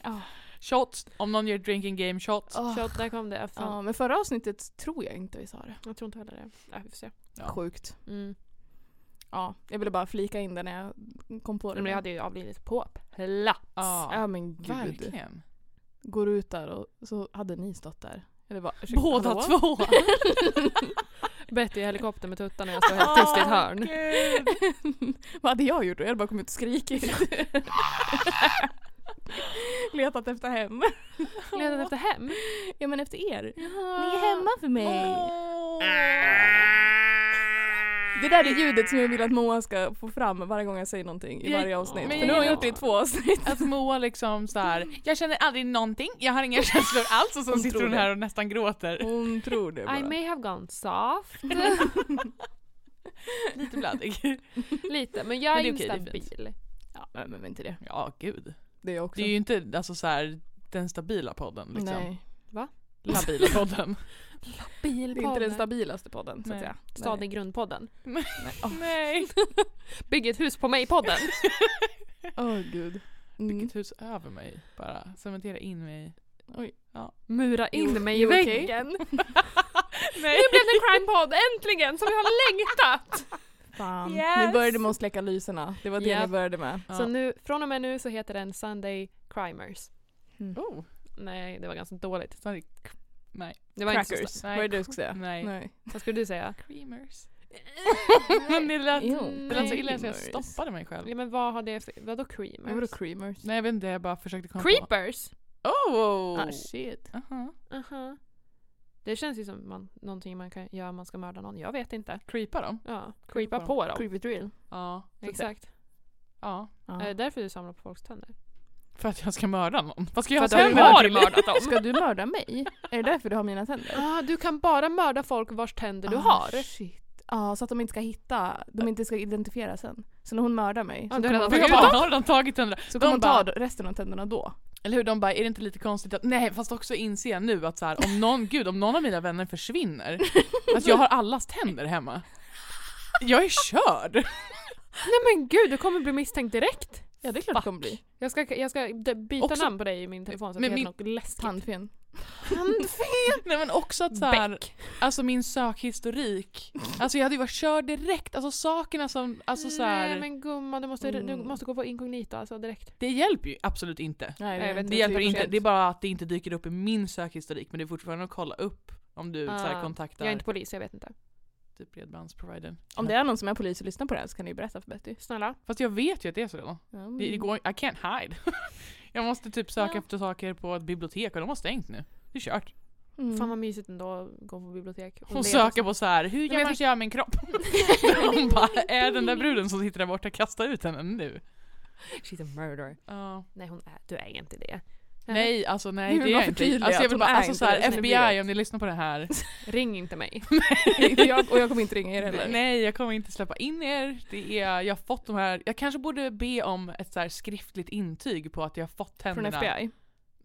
S2: Ja,
S3: Shots, om någon gör drinking game shots.
S2: Åh.
S4: shot, där kom det. Ja, fan.
S2: Ah. ja, men förra avsnittet tror jag inte vi sa det.
S4: Jag tror inte heller det. Ja, vi får se.
S3: Ja.
S2: Sjukt.
S4: Mm.
S2: Ja, jag ville bara flika in det när jag kom på det.
S4: Men jag hade ju avlidit på plats.
S3: Ja,
S2: Ja men gud.
S3: verkligen.
S2: Går ut där och så hade ni stått där. Eller bara, ursäkta,
S3: Båda
S2: hallå?
S3: två.
S4: Betty i helikoptern med tuttarna jag står helt tyst i ett hörn.
S2: Gud. Vad hade jag gjort då? Jag hade bara kommit ut och skrikit. Letat efter hem.
S4: Letat efter hem?
S2: Ja men efter er.
S4: Jaha.
S2: för Det där är ljudet som jag vill att Moa ska få fram varje gång jag säger någonting i
S3: Jag-
S2: varje avsnitt.
S3: men
S2: För
S3: jag
S2: nu har jag
S3: gillar-
S2: gjort det i två avsnitt.
S3: Att Moa liksom så här. jag känner aldrig någonting, jag har inga känslor alls och så
S2: Hon
S3: sitter
S2: tror
S3: hon
S2: det.
S3: här och nästan gråter.
S2: Hon tror det
S4: I
S2: bara.
S4: may have gone soft.
S3: Lite bladig.
S4: Lite, men jag
S3: Men
S4: är,
S3: det är okej, det är
S4: instabil.
S2: Ja, men, men inte det.
S3: Ja, gud.
S2: Det är jag också.
S3: Det är ju inte alltså, så här, den stabila podden liksom.
S2: Nej.
S3: Labila podden.
S2: Det är inte den stabilaste podden så att
S3: Nej.
S2: säga.
S4: Stadig grundpodden.
S3: Nej.
S4: Bygg ett hus på mig-podden.
S2: Åh gud.
S3: Bygg
S2: Mm.
S3: ett hus över mig bara. Cementera in mig.
S4: Mura
S2: You-
S4: in mig i
S2: you okay?
S4: väggen. Nu blev det en crime-podd äntligen som vi har längtat!
S2: Fan.
S4: Yes.
S2: Ni började med att släcka lyserna. Det var det
S4: Japp.
S2: ni började med.
S3: Ja.
S4: Så nu, från och med nu så heter den Sunday Crimers.
S3: Oh,
S4: Nej, det var ganska dåligt.
S3: sorry.
S4: Det var inte så
S2: Crackers.
S4: starkt.
S2: Vad är det du ska säga?
S3: Nej.
S4: Vad skulle du säga?
S3: Creamers. det, lät,
S2: Jo,
S3: det lät så illa så jag
S2: creamers.
S3: stoppade mig
S4: Ja,
S3: själv.
S4: men vad har det för... Vadå creamers?
S2: Men vadå creamers?
S3: Nej jag vet inte, jag bara försökte komma på.
S4: Creepers?
S3: Oh!
S2: Ah shit.
S3: Aha.
S4: Aha. Det känns ju som man, någonting man kan göra om man ska mörda någon. Jag vet inte.
S3: Creepa dem?
S4: Ja,
S3: Creepa
S4: creepa
S3: på
S4: på dem.
S2: Creepy drill.
S3: Ja.
S4: Exakt.
S3: ja.
S4: Är Eh, det därför du samlar på folks tänder?
S3: För att jag ska mörda någon. Vad ska jag
S4: För
S3: ha
S4: att du
S3: tänderna
S4: har
S3: till?
S4: mördat dem.
S2: Ska du mörda mig? Är det därför du har mina tänder?
S4: Ah, du kan bara mörda folk vars tänder du
S2: Ah,
S4: har.
S2: Shit. Ja, så att de inte ska hitta, de inte ska identifiera sen. Så när hon mördar mig
S4: Ja,
S2: så
S4: du
S2: kommer
S4: har
S2: hon-
S3: För
S4: redan
S3: jag bara, har de tagit tänderna?
S2: så kommer
S3: de
S2: hon ta
S3: bara-
S2: resten av tänderna då.
S3: Eller hur? De bara, är det inte lite konstigt att, nej fast också inse nu att så här, om någon, gud om någon av mina vänner försvinner, att jag har allas tänder hemma. Jag är körd!
S4: Nej men gud, du kommer bli misstänkt direkt.
S2: Ja, det är klart det kommer bli.
S4: Jag ska, jag ska d- byta
S3: Också-
S4: namn på dig i min telefon så att
S3: Men
S4: det
S3: min-
S4: heter något läskigt.
S2: Tandfen.
S3: Nej men också att så här, alltså min sökhistorik, alltså jag hade ju varit körd direkt, alltså sakerna som, alltså så
S4: Nej
S3: här,
S4: men gumman, du måste, du
S2: Mm.
S4: måste gå på inkognito alltså direkt.
S3: det hjälper ju absolut inte.
S2: Nej,
S4: jag vet
S3: Det
S4: är
S3: hjälper
S4: för
S3: inte,
S4: sent.
S3: det är bara att det inte dyker upp i min sökhistorik men det är fortfarande att kolla upp om du så här,
S4: Ah,
S3: kontaktar
S4: Jag är inte polis, jag vet inte.
S3: typ bredbandsprovidern.
S2: Om det är någon som är polis och lyssnar på det här så kan ni ju berätta för Betty.
S4: Snälla.
S3: Fast jag vet ju att det är så redan. Mm. Det, det går, I can't hide. jag måste typ söka
S4: Ja.
S3: efter saker på ett bibliotek och de har stängt nu. Det är kört.
S2: Mm.
S4: Fan vad mysigt ändå att gå på bibliotek.
S3: Hon
S4: leta-
S3: söker på så här, hur
S4: men jag
S3: gammal
S4: fick-
S3: gör jag min kropp? Hon bara, är den där bruden som sitter där borta, kasta ut henne nu.
S4: She's a murderer.
S3: Ja.
S4: Nej hon är, du är inte det.
S3: Nej, alltså
S2: Vi
S3: nej
S2: vill
S3: det är
S2: bara
S3: jag inte.
S2: förtydliga
S3: Alltså,
S2: att
S3: jag vill
S2: hon
S3: bara,
S2: är
S3: alltså
S2: inte
S3: så här,
S2: det, så ni
S3: FBI
S2: vet.
S3: om ni lyssnar på det här.
S4: Ring inte mig.
S2: Inte jag, och jag kommer inte ringa er heller.
S3: nej jag kommer inte släppa in er. Det är, jag har fått de här, jag kanske borde be om ett så här skriftligt intyg på att jag har fått
S2: Från
S3: tänderna.
S2: FBI.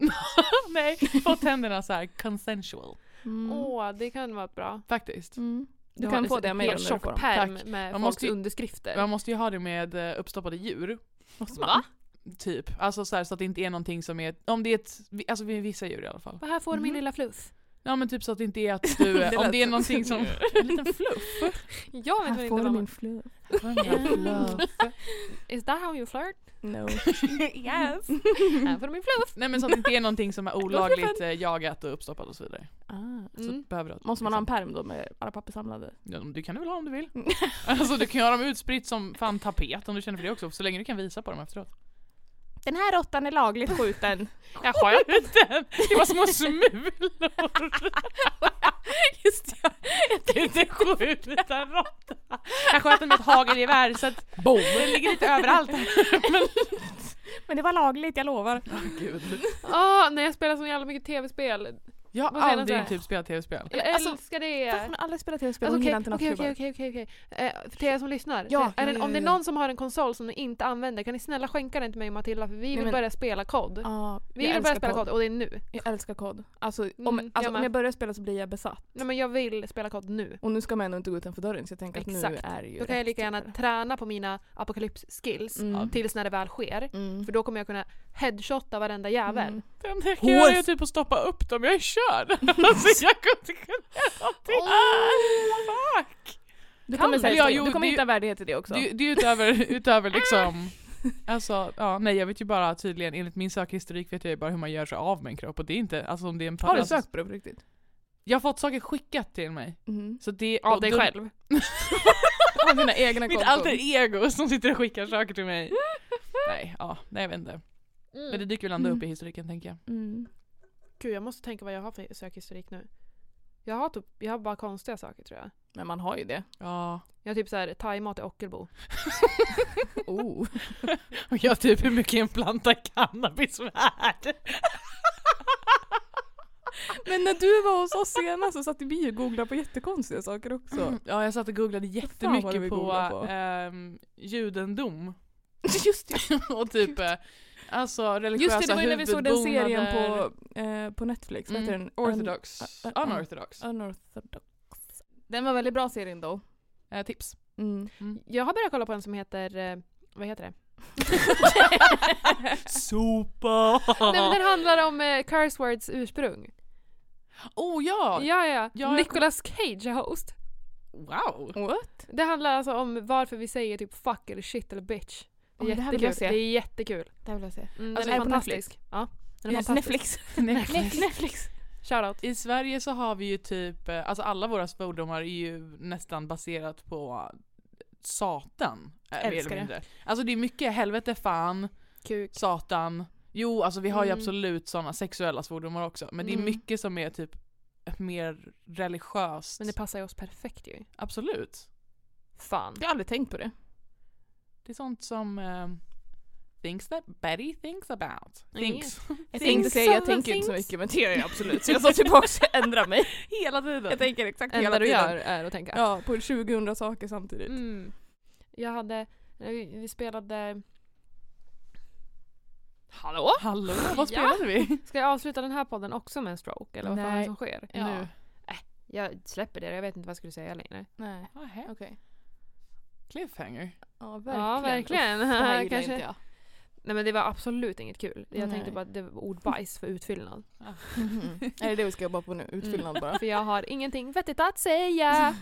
S3: nej, fått tänderna så här consensual.
S2: Mm.
S4: Åh, det kan vara bra.
S3: Faktiskt.
S2: Mm. Du,
S4: har
S2: kan
S4: en
S2: få det med
S4: helt
S2: dig när du
S4: tjock
S2: får dem.
S4: pärm
S3: Tack.
S4: med
S3: Man
S4: folks
S3: måste ju-
S4: underskrifter.
S3: Man måste ju ha det med eh, uppstoppade djur.
S2: Måste man?
S4: Va?
S3: Typ. Alltså så, här, så att det inte är någonting som är, om det är ett, alltså vi- vissa djur i alla fall.
S4: Vad här får du min
S2: Mhm.
S4: lilla fluff?
S3: Ja men typ så att det inte är att du,
S2: Det
S3: om
S2: lät
S3: det är
S2: som-
S3: någonting som, en liten fluff.
S4: Jag vet
S2: Här
S4: inte
S2: får du
S4: vad
S2: min
S4: min...
S2: fluff.
S3: Mm.
S4: Is that how you flirt?
S2: No.
S4: Yes! här får du min fluff!
S3: Nej men så att det inte är någonting som är olagligt eh, jagat och uppstoppat och så vidare.
S2: Ah.
S3: Så
S4: Mm.
S3: behöver du,
S2: Måste man ha en pärm då med alla papper samlade?
S3: ja, Du kan det väl ha om du vill. Alltså du kan ju ha dem utspritt som fan tapet om du känner för det också, så länge du kan visa på dem efteråt.
S2: Den här råttan är lagligt skjuten.
S4: Jag sköt!
S3: Den, det var små smulor!
S2: Just det.
S3: Det är inte sjukt utan råtta. Jag sköt den med ett hagelgevär så att den ligger lite överallt.
S2: Men det var lagligt, jag lovar.
S4: Åh, nej jag spelar så jävla mycket tv-spel.
S3: Jag har
S4: Vad säger de så
S3: aldrig
S4: här?
S3: typ spelat tv-spel.
S4: Jag
S2: Alltså,
S4: älskar det!
S2: Varför har ni aldrig spelat tv-spel?
S4: Alltså,
S2: Hon
S4: Okej,
S2: gillar inte
S4: okej, okej,
S2: nattklubbor.
S4: okör, okej, okej. Eh, För er som lyssnar,
S2: Ja,
S4: är det,
S2: ja, ja,
S4: om det är
S2: ja.
S4: någon som har en konsol som ni inte använder kan ni snälla skänka den till mig och Matilda för vi vill
S2: men-
S4: börja spela kod.
S2: Ja,
S4: Vi
S2: jag
S4: vill börja
S2: älskar
S4: spela
S2: kod.
S4: kod och det är nu.
S2: Jag älskar kod. Alltså, om,
S4: Mm, jag
S2: alltså,
S4: med.
S2: om jag börjar spela så blir jag besatt.
S4: Nej men jag vill spela kod nu.
S2: Och nu ska man ändå inte gå utanför dörren så jag tänker att nu
S4: Exakt.
S2: är det ju
S4: Då kan jag
S2: rätt
S4: lika gärna
S2: tillfälle.
S4: träna på mina apokalyps-skills
S2: Mm.
S4: tills när det väl sker.
S2: Mm.
S4: För då kommer jag kunna headshotta varenda jävel.
S2: Mm.
S3: Den där kan jag ju typ att stoppa upp dem, jag är körd. Alltså jag kommer inte kunna göra någonting. Ah, fuck.
S2: Du
S4: Kan
S2: kommer, säga,
S3: man? Ja, jo,
S2: du kommer
S3: det-
S2: hitta värdighet i det också.
S3: Det, är ju- det är ju utöver, utöver liksom Alltså, ja, nej jag vet ju bara tydligen, enligt min sökhistorik vet jag ju bara hur man gör sig av med en kropp och det är inte, alltså om det är en
S2: har du
S3: alltså,
S2: sökt på det på riktigt?
S3: Jag har fått saker skickat till mig.
S4: Mm.
S2: Mhm.
S3: Så det,
S4: Av
S3: och
S4: dig
S3: då-
S4: själv.
S2: Av dina egna
S3: Mitt
S2: konton.
S3: alter ego som sitter och skickar saker till mig. Nej, ja, nej jag vet inte.
S4: Mm.
S3: Men det dyker väl ändå upp i historiken tänker jag.
S2: Mm.
S4: Gud jag måste tänka vad jag har för sökhistorik nu. Jag har, typ, jag har bara konstiga saker tror jag.
S2: Men man har ju det.
S3: Ja.
S4: Jag har typ såhär thaimat i Ockelbo.
S2: Oh.
S3: Och jag typ hur mycket en planta cannabis värd?
S2: Men när du var hos oss senast så satt vi och googlade på jättekonstiga saker också.
S3: Ja jag satt och googlade
S2: Vad fan var det vi
S3: jättemycket på,
S2: googlade på?
S3: ehm, judendom.
S2: Just det.
S3: och typ eh, alltså religiösa
S2: Just det, det var ju när vi såg den serien
S3: huvudbonader.
S2: på, eh, på Netflix. Vad heter
S3: Mm.
S2: den?
S3: Orthodox.
S2: Un- un-
S3: Unorthodox.
S2: Un- Unorthodox. Den var väldigt bra serien då.
S3: Eh, tips.
S2: Mm.
S4: Jag har börjat kolla på en som heter, eh, vad heter det?
S3: Sopa!
S4: Nej men den handlar om eh, curse words ursprung.
S3: Oh ja!
S4: Ja ja, ja.
S3: jag-
S4: Nicolas Cage är host.
S3: Wow!
S2: What?
S4: Det handlar alltså om varför vi säger typ fuck eller shit eller bitch. Det är
S2: Oj, det här vill jag
S4: jättekul.
S2: se.
S4: Det är jättekul.
S2: Det vill jag se.
S4: Mm,
S2: Alltså,
S4: den är
S2: är det på
S4: fantastisk. Ja, den är fantastisk.
S2: Netflix.
S3: Netflix.
S2: Netflix.
S4: Shoutout.
S3: I Sverige så har vi ju typ, eh, alltså alla våra svordomar är ju nästan baserat på Satan. eh, mer eller
S4: Älskar det.
S3: mindre. Alltså det är mycket helvete, fan,
S4: Kuk.
S3: Satan. Jo, alltså vi har ju
S4: Mm.
S3: absolut sådana sexuella svordomar också. Men det är
S4: Mm.
S3: mycket som är typ mer religiöst.
S4: Men det passar ju oss perfekt ju.
S3: Absolut.
S4: Fan.
S2: Jag har aldrig tänkt på det.
S3: Det är sånt som eh, things that Betty thinks about. Thinks.
S2: Jag
S4: Things
S2: tänkte säga, jag
S4: are
S2: tänker inte så
S4: things.
S2: mycket men det gör jag absolut. Så jag sa tillbaka och ändra mig.
S3: Hela tiden.
S2: Jag tänker exakt
S4: Det
S2: hela
S4: enda du
S2: tiden.
S4: gör är att tänka.
S2: Ja, på 2000 saker samtidigt.
S4: Mm. Jag hade, vi vi spelade... Hallå?
S3: Hallå, vad spelade vi?
S4: Ska jag avsluta den här podden också med en stroke? Eller vad fan är det
S3: Nej.
S4: som sker?
S3: Ja.
S4: Nu. Äh, jag släpper det, jag vet inte vad jag skulle säga längre.
S2: Nej,
S3: Nähä.
S2: okej.
S3: Cliffhanger.
S2: Ja,
S4: Ja, verkligen.
S2: Uff, det här gillar
S4: Kanske.
S2: inte jag.
S4: Nej men det var absolut inget kul. Jag tänkte
S2: Nej.
S4: bara att det var ordbajs för utfyllnad.
S3: Ah,
S2: Är Mm. det det vi ska jobba på nu? Utfyllnad bara.
S3: Mm.
S4: För jag har ingenting vettigt att säga.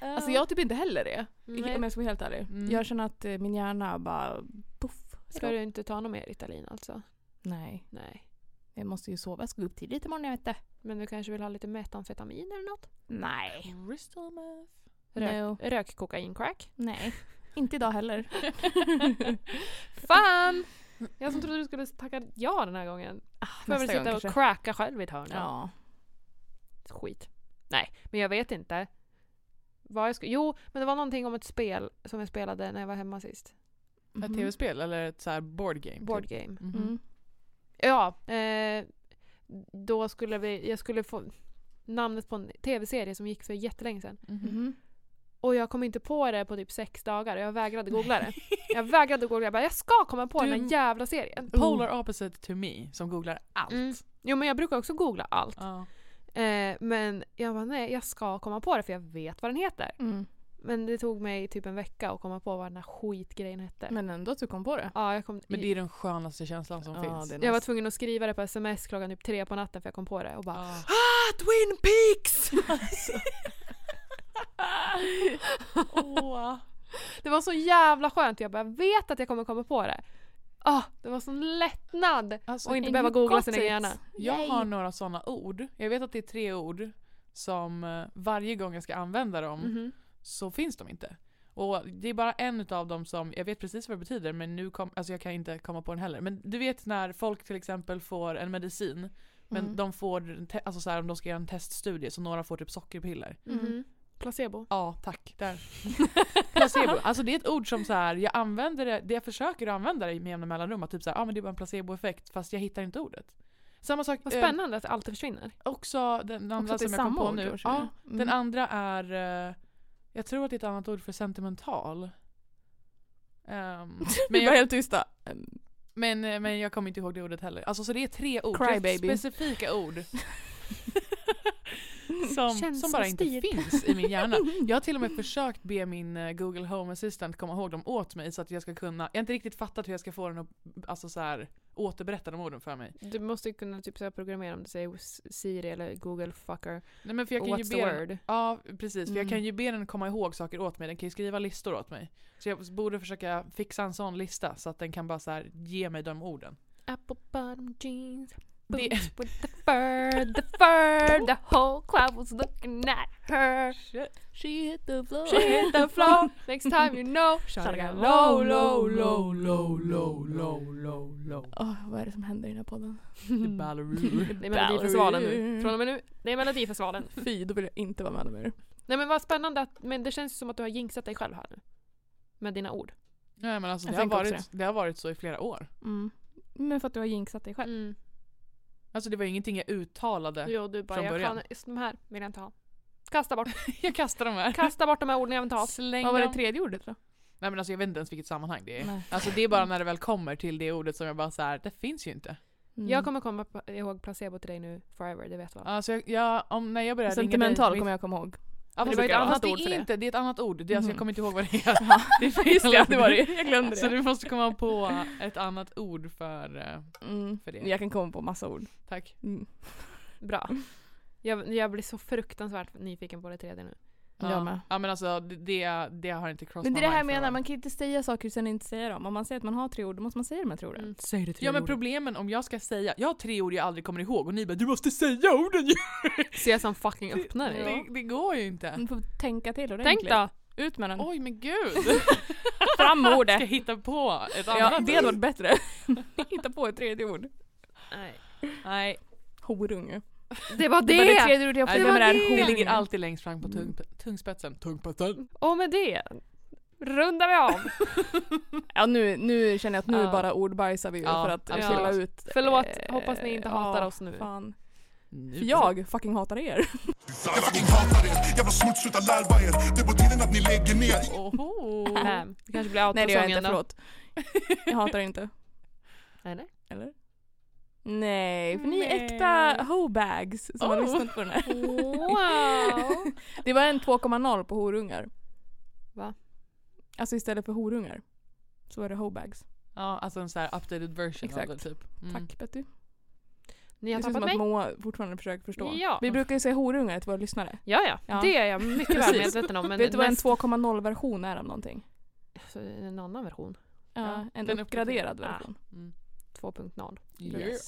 S2: Alltså jag typ inte heller det.
S4: Nej.
S2: Om jag ska vara helt ärlig.
S3: Mm.
S2: Jag känner att eh, min hjärna bara puff.
S4: Ska du inte ta något mer Ritalin alltså?
S2: Nej,
S4: Nej.
S2: jag måste ju sova. Jag ska gå upp tidigt imorgon jag vet det.
S4: Men du kanske vill ha lite metamfetamin eller något?
S2: Nej.
S3: Crystal meth.
S4: Rök,
S2: No.
S4: rök kokain crack.
S2: Nej. Inte idag heller.
S4: Fan! Jag som trodde du skulle tacka ja den här gången.
S3: Ah,
S4: Får jag väl sitta och cracka själv i ett hörn då.
S2: Ja.
S4: Skit. Nej, men jag vet inte. Vad jag ska... Jo, men det var någonting om ett spel som jag spelade när jag var hemma sist.
S3: Ett
S2: Mhm.
S3: tv-spel eller ett så här board game? typ?
S4: Board game.
S3: Mhm.
S2: Mm.
S4: Ja, eh, då skulle vi... Jag skulle få namnet på en tv-serie som gick för jättelänge sedan.
S3: Mhm.
S2: Mhm.
S4: Och jag kom inte på det på typ sex dagar och jag vägrade googla det. Jag vägrade googla. Jag bara, jag ska komma på
S3: Du- Mm.
S4: den här jävla serien.
S2: Mm-hmm.
S3: Polar opposite to me som googlar allt.
S4: Mm. Jo men jag brukar också googla allt.
S3: Ja.
S4: Eh, men jag bara, nej jag ska komma på det för jag vet vad den heter.
S2: Mm.
S4: Men det tog mig typ en vecka att komma på vad den här skitgrejen hette.
S2: Men ändå att du kom på det.
S4: ja, jag, kom,
S3: Men det är den skönaste känslan som
S2: Ja,
S3: finns.
S2: det är
S4: jag var
S2: nice.
S4: tvungen att skriva det på sms klockan typ tre på natten för jag kom på det och bara
S2: Ah.
S3: Ja. Ah,
S2: Twin Peaks!
S3: Åh.
S4: Det var så jävla skönt jag bara, jag vet att jag kommer komma på det. Ah, det var sån lättnad!
S3: Alltså,
S4: Och inte
S2: and
S4: behöva
S2: you
S4: googla
S2: got
S4: sin
S2: it.
S4: egen hjärna.
S3: jag har några sådana ord. Jag vet att det är tre ord som eh, varje gång jag ska använda dem
S2: Mm.
S4: Mhm.
S3: så finns de inte. Och det är bara en utav dem som, jag vet precis vad det betyder men nu kom, alltså jag kan inte komma på den heller. Men du vet när folk till exempel får en medicin men
S2: Mm.
S3: de får, en te- alltså så här, om de ska göra en teststudie så några får typ sockerpiller.
S4: Mhm. Placebo.
S3: Ja, tack. Där. placebo. Alltså det är ett ord som så här, jag använder det, det jag försöker att använda det med jämna mellanrum. Att typ så här, ah, men det är bara en placeboeffekt fast jag hittar inte ordet. Samma sak,
S4: Vad
S3: eh,
S4: spännande att allt försvinner.
S3: också den andra
S2: att det är
S3: som jag kom
S2: samma
S3: på
S2: ord
S3: nu.
S2: då, tror jag.
S3: Ja,
S2: Mm.
S3: Den andra är, eh, jag tror att det är ett annat ord för sentimental. Ehm, men,
S2: Vi var
S3: jag,
S2: helt tysta. Mm.
S3: men, eh, men jag kommer inte ihåg det ordet heller. Alltså så det är tre ord,
S2: Cry
S3: tre
S2: baby.
S3: specifika ord. som, som bara inte
S4: Känslostyrd.
S3: finns i min hjärna. Jag har till och med försökt be min eh, Google Home Assistant komma ihåg dem åt mig så att jag ska kunna, jag har inte riktigt fattat hur jag ska få den att alltså så här, återberätta de orden för mig.
S4: Du måste ju kunna typ så här programmera om du säger S- Siri eller Google fucker.
S3: Nej, men för jag kan ju
S4: What's the
S3: be den,
S4: word?
S3: Ja precis, för jag kan
S2: Mm.
S3: ju be den komma ihåg saker åt mig, den kan ju skriva listor åt mig. Så jag borde försöka fixa en sån lista så att den kan bara så här ge mig de orden.
S4: Apple bottom jeans.
S3: Det,
S4: boots with the fur, the fur, the whole crowd was looking at her. She hit the floor. She hit the floor. Next time you know, shawty got low, low,
S3: low,
S4: low.
S3: low, low, low, low.
S2: Åh, vad är det som händer i den här podden?
S3: Mm. Balleroo.
S4: Det är Melodifestivalen nu. Från och med nu, det är Melodifestivalen.
S2: Fy, då vill jag inte vara med mer.
S4: Nej men vad spännande att, men det känns ju som att du har jinxat dig själv här nu. Med dina ord.
S3: Nej men alltså
S2: Jag
S3: det har,
S2: tänkte också
S3: varit, det har varit så i flera år.
S2: Mm. Men för att du har jinxat dig själv.
S4: Mm.
S3: Alltså det var ju ingenting jag uttalade.
S4: Jo, du bara,
S3: Från
S4: jag
S3: början.
S4: kan, just de här vill jag inte ha. Kasta bort,
S3: Jag kastar de här.
S4: kasta bort de här orden jag vill inte ha.
S3: Släng
S2: Vad var det
S3: dem.
S2: tredje ordet då?
S3: Nej men alltså jag vet inte ens vilket sammanhang det är.
S2: Nej.
S3: Alltså det är bara när det väl kommer till det ordet som jag bara så här, det finns ju inte.
S2: Mm.
S4: Jag kommer komma på- ihåg placebo till dig nu forever, det vet du va?
S3: Alltså jag, jag om, när jag började
S2: Sentimental kommer jag komma ihåg.
S3: Ja,
S4: Men
S3: fast
S4: det var
S3: fast
S4: ju ett annat
S3: det
S4: ord för
S3: är
S4: det.
S3: Inte, det är ett annat ord. Det, är alltså,
S2: Mhm.
S3: jag kommer inte ihåg vad det är. Det är fel
S2: Just det,
S3: ord.
S2: det var det. Jag glömde
S3: Så
S2: det.
S3: du måste komma på ett annat ord för... eh,
S2: Mm.
S3: för det.
S2: Jag kan komma på massa ord.
S3: Tack.
S2: Mm.
S4: Bra. Jag, jag blir så fruktansvärt nyfiken på det tredje nu.
S2: Jag
S3: Ja.
S2: med.
S3: ja men alltså det, det, det har inte crossat
S2: Men det är det
S3: my
S2: här jag
S3: mind för
S2: menar,
S3: att-
S2: man kan inte säga saker och sen inte säga dem. Om man säger att man har tre ord, då måste man säga de här tre orden.
S4: Mm.
S2: Säg det
S3: Ja men problemen om jag ska säga, jag har tre ord jag aldrig kommer ihåg och ni bara du måste säga orden ju!
S4: Ser jag som fucking öppnar dig.
S3: Det, det går ju inte.
S2: Man får tänka till
S4: Tänk
S2: ordentligt.
S4: då!
S2: Ut med den.
S3: Oj men gud!
S2: Fram med
S3: Ska jag
S2: ordet!
S3: hitta på ett annat
S2: Ja,
S3: ord?
S2: det hade varit bättre. Hitta på ett tredje ord.
S4: Nej.
S3: Nej,
S2: Horunge.
S4: Det var
S2: Det var det
S4: det!
S2: tredje ordet jag
S3: Nej,
S2: fick
S3: det,
S2: med
S3: det,
S2: det här
S3: det
S2: horunge.
S3: ligger alltid längst fram på tung, tungspetsen. Tungspetsen!
S4: Och med det rundar vi av.
S2: Ja nu, nu känner jag att nu
S4: Ja.
S2: bara ordbajsar vi ju
S3: Ja,
S2: för att
S4: absolut.
S2: fylla ut.
S4: Förlåt,
S2: eh,
S4: hoppas ni inte
S2: ja,
S4: hatar oss nu.
S2: Fan.
S3: Nu.
S2: För jag fucking hatar er.
S5: Jag fucking hatar er, jävla smuts, sluta larva er Det är på tiden att ni lägger ner
S3: Oho.
S4: Nej, det kanske blir
S2: Nej det gör jag
S4: autosången
S2: inte,
S4: då.
S2: förlåt. Jag hatar er inte.
S4: Nej, nej.
S2: Eller? Nej, för ni är
S3: Nej.
S2: äkta hobags som har
S3: Oh.
S2: lyssnat på den här.
S4: Wow!
S2: Det var en 2,0 på horungar.
S4: Va?
S2: Alltså istället för horungar så var det hobags.
S3: Ja, alltså en sån här updated version
S2: Exakt.
S3: av det typ. Mm.
S2: Tack Betty.
S4: Ni har
S2: det känns
S4: tappat
S2: som att
S4: mig?
S2: Moa fortfarande försöker förstå.
S4: Ja.
S2: Vi brukar ju säga horungar till våra lyssnare.
S4: Ja, ja,
S2: Ja.
S4: Det är jag mycket väl
S2: Precis.
S4: medveten om. Men
S2: Vet du vad en
S4: näst-
S2: 2,0 version är av någonting?
S4: Alltså, en annan version.
S2: Ja, en
S3: den
S2: uppgraderad
S4: uppdaterade.
S2: version.
S4: 2.0.
S3: Yeah.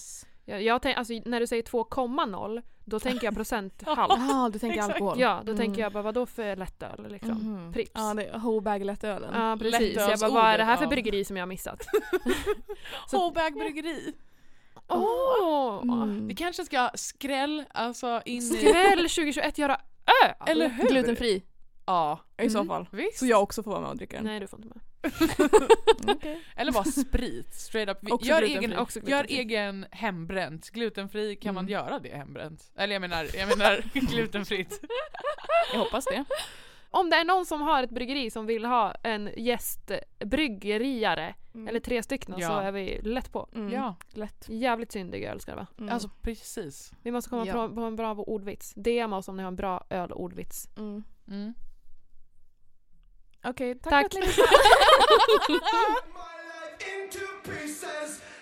S4: Jag, jag tänk, alltså, när du säger 2,0 då tänker jag procenthalt.
S2: Jaha, du tänker alkohol?
S4: ja, då
S2: Mm.
S4: tänker jag bara vadå för lättöl liksom?
S2: Mhm.
S4: Pripps.
S2: Ja, det är Hobag lättölen.
S4: Ja precis, jag bara
S3: Lättölsordet,
S4: vad är det här för
S3: ja.
S4: bryggeri som jag har missat? Så-
S3: Håberg bryggeri.
S4: Åh!
S2: Mm.
S3: Vi kanske ska skräll, alltså in i...
S4: Skräll 2021 göra öl!
S3: Eller hur?
S2: Glutenfri
S3: Ja,
S2: i så
S4: Mm.
S2: fall.
S3: visst.
S2: Så jag också får vara med och dricka den. Mm.
S4: Nej du får inte med.
S2: Okej.
S3: Eller bara sprit, straight up. Vi-
S2: Också
S3: gör,
S2: glutenfri.
S3: egen,
S4: Också
S3: gör
S4: glutenfri.
S3: egen hembränt. Glutenfri, kan man
S2: Mm.
S3: göra det hembränt? Eller jag menar, jag menar glutenfritt.
S2: Jag hoppas det.
S4: Om det är någon som har ett bryggeri som vill ha en gästbryggeriare eller tre stycken så
S3: Ja.
S4: är vi lätt på.
S2: Mm.
S3: Ja,
S2: lätt.
S4: Jävligt syndig öl ska det vara.
S2: Mm.
S3: alltså precis.
S4: Vi måste komma
S2: Ja.
S4: på, på en bra ordvits. DM oss om ni har en bra ölordvits.
S2: Mm.
S3: Mm.
S2: Okej, tack,
S4: Tack.
S2: för att ni
S9: my life into pieces.